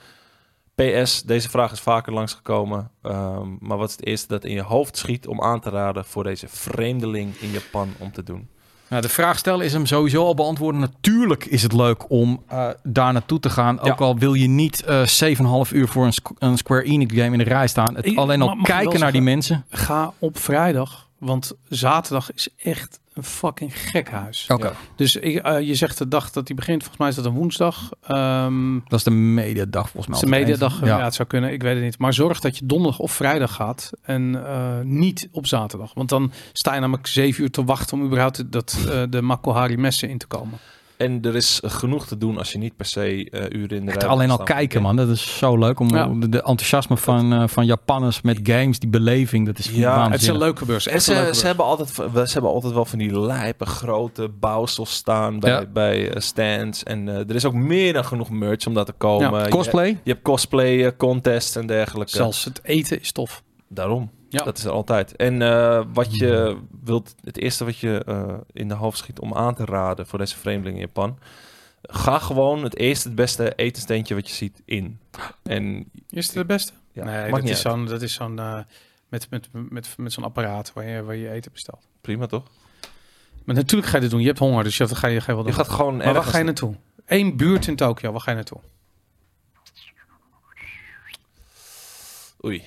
PS, deze vraag is vaker langsgekomen, ehm, maar wat is het eerste dat in je hoofd schiet om aan te raden voor deze vreemdeling in Japan om te doen? Nou, de vraag stellen is hem sowieso al beantwoorden. Natuurlijk is het leuk om eh, daar naartoe te gaan. Ja. Ook al wil je niet eh 7,5 uur voor een, squ- een Square Enix game in de rij staan. Het, Ik- alleen mag- al mag ik wel kijken naar die mensen. Ga op vrijdag, want zaterdag is echt een fucking gek huis. Oké. Ja. Dus ik, eh, je zegt de dag dat die begint. Volgens mij is dat een woensdag. Ehm het Dat is de mediadag volgens mij. is de mediadag. eh, Ja. Ja. het zou kunnen. Ik weet het niet. Maar zorg dat je donderdag of vrijdag gaat. En eh, niet op zaterdag. Want dan sta je namelijk zeven uur te wachten om überhaupt dat, eh, de Makohari messen in te komen. En er is genoeg te doen als je niet per se eh, uren in de Echt rij alleen al wil staan voor kijken, een game. man. Dat is zo leuk. Om, Ja. om de, de enthousiasme van, eh, van Japanners met games, die beleving, dat is Ja, waanzinnig. Het is een leuke beurs. En Echt een ze, leuke ze, beurs. hebben altijd, wel- ze hebben altijd wel van die lijpe grote bouwsels staan bij, Ja. bij eh, stands. En eh, er is ook meer dan genoeg merch om daar te komen. Ja, Je, Cosplay? je hebt cosplay, eh, contests en dergelijke. Zelfs het eten is tof. Daarom. Ja. Dat is er altijd. En eh, wat je wilt, het eerste wat je eh, in de hoofd schiet om aan te raden voor deze vreemdeling in Japan. Ga gewoon het eerste, het beste etensteentje wat je ziet in. En Is het de beste? ja, nee, maakt dat niet is, uit. zo'n, dat is zo'n... eh, met, met, met, met zo'n apparaat waar je, waar je eten bestelt. Prima toch? Maar natuurlijk ga je dit doen. Je hebt honger, dus dat ga je, ga je wel Je doen. gaat gewoon Maar waar ergens- ga je naartoe? Eén buurt in Tokio, waar ga je naartoe? Oei.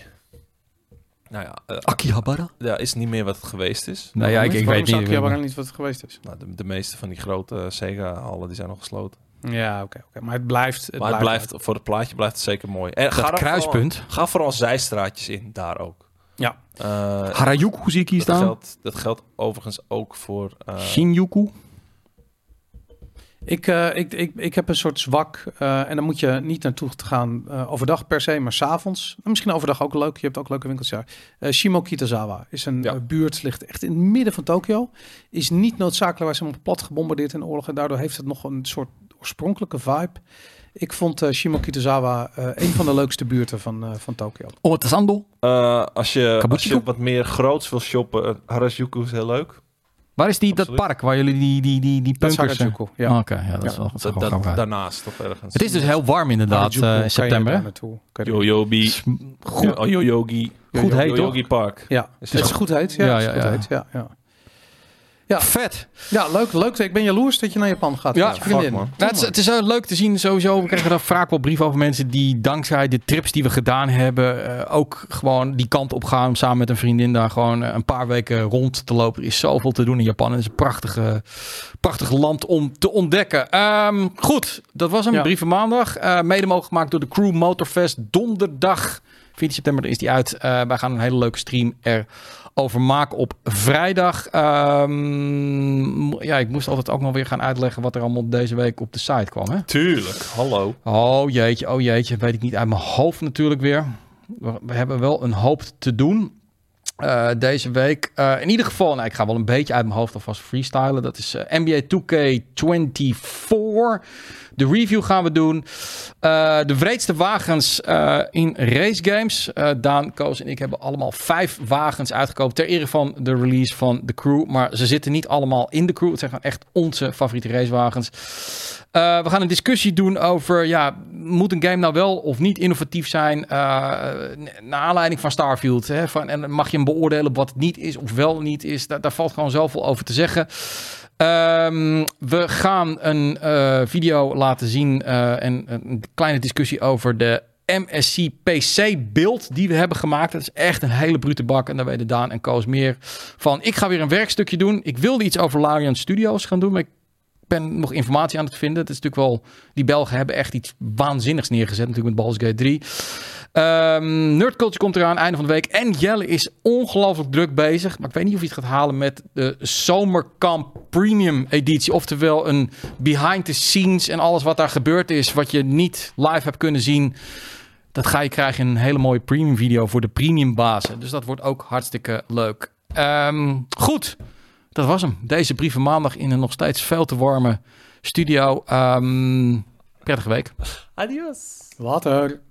Nou ja, eh, Akihabara? ja, is niet meer wat het geweest is. Nou ja, ik, ik weet niet. Ja, waarom niet wat het geweest is. Nou, de, de meeste van die grote eh, Sega-hallen die zijn al gesloten. Ja, oké. oké. Maar het blijft... Het maar het blijft, voor het plaatje blijft het zeker mooi. En Dat dan kruispunt. Vooral, ga vooral zijstraatjes in, daar ook. Ja. Eh, Harajuku zie ik hier dat, staan. geldt, dat geldt overigens ook voor... eh, Shinjuku. Ik, eh, ik, ik, ik heb een soort zwak. eh, en dan moet je niet naartoe te gaan eh, overdag per se, maar s'avonds. Misschien overdag ook leuk. Je hebt ook leuke winkels daar. Eh, Shimokitazawa is een Ja. eh, buurt, ligt echt in het midden van Tokio. Is niet noodzakelijkerwijs helemaal plat gebombardeerd in oorlog. En daardoor heeft het nog een soort oorspronkelijke vibe. Ik vond eh Shimokitazawa eh, een van de leukste buurten van, eh, van Tokio. Oh, het is Andel. eh, als, je, als Kabukicho? je wat meer groots wil shoppen, eh, Harajuku is heel leuk. Waar is die, dat Absoluut. park waar jullie die, die, die, die Dat is punkers... eh, Harajuku, ja. Ah, Oké, ja, dat is Ja, wel dat is Dat, wel dat- grappig. daarnaast of ergens. Het is dus heel warm inderdaad, Harajuku, eh, kan in je september. daar hè? naartoe. Kan je- Yoyobi. Goed, Oh, Yoyogi. goed heet, toch? Yoyogi Park. Ja, Is het is echt- goed heet. Ja, Ja, het is ja, goed ja. heet. Ja, ja. Ja. Vet. Ja, leuk, leuk. Ik ben jaloers dat je naar Japan gaat. Ja, met je vriendin. fuck, man. Nou, het, is, het is heel leuk te zien sowieso. We krijgen dan vaak wel brieven over mensen die dankzij de trips die we gedaan hebben... eh, ook gewoon die kant op gaan om samen met een vriendin daar gewoon eh, een paar weken rond te lopen. Er is zoveel te doen in Japan. Het is een prachtige, prachtig land om te ontdekken. Ehm, goed, dat was hem. Ja. Brieven maandag. Eh, mede mogelijk gemaakt door de Crew Motorfest. Donderdag 14 september is die uit. Eh, wij gaan een hele leuke stream erover maken op vrijdag. Ehm, mo- ja, ik moest altijd ook nog weer gaan uitleggen wat er allemaal deze week op de site kwam. Hè? Tuurlijk, hallo. Oh jeetje, oh jeetje. Weet ik niet uit mijn hoofd natuurlijk weer. We, we hebben wel een hoop te doen. eh, deze week. Eh, in ieder geval, nou, ik ga wel een beetje uit mijn hoofd alvast freestylen. Dat is eh, NBA 2K24. De review gaan we doen. Eh, de vreedste wagens eh, in race games. Eh, Daan, Koos en ik hebben allemaal vijf wagens uitgekomen ter ere van de release van de crew. Maar ze zitten niet allemaal in de crew. Het zijn gewoon echt onze favoriete racewagens. Eh, we gaan een discussie doen over, ja, moet een game nou wel of niet innovatief zijn? eh naar aanleiding van Starfield. Hè? Van, en mag je hem beoordelen wat het niet is of wel niet is? Daar, daar valt gewoon zoveel over te zeggen. Ehm, we gaan een eh, video laten zien eh, en een kleine discussie over de MSC PC beeld die we hebben gemaakt. Dat is echt een hele brute bak en daar weten Daan en Koos meer van. Ik ga weer een werkstukje doen. Ik wilde iets over Larian Studios gaan doen, maar ik ben nog informatie aan het vinden. Het is natuurlijk wel, die Belgen hebben echt iets waanzinnigs neergezet natuurlijk met Baldur's Gate 3. Ehm Nerdculture komt eraan, einde van de week. En Jelle is ongelooflijk druk bezig. Maar ik weet niet of hij het gaat halen met de Zomerkamp Premium editie. Oftewel een behind the scenes en alles wat daar gebeurd is. Wat je niet live hebt kunnen zien. Dat ga je krijgen in een hele mooie premium video voor de premium bazen. Dus dat wordt ook hartstikke leuk. Ehm, goed, dat was hem. Deze brieven maandag in een nog steeds veel te warme studio. Ehm prettige week. Adios. Later.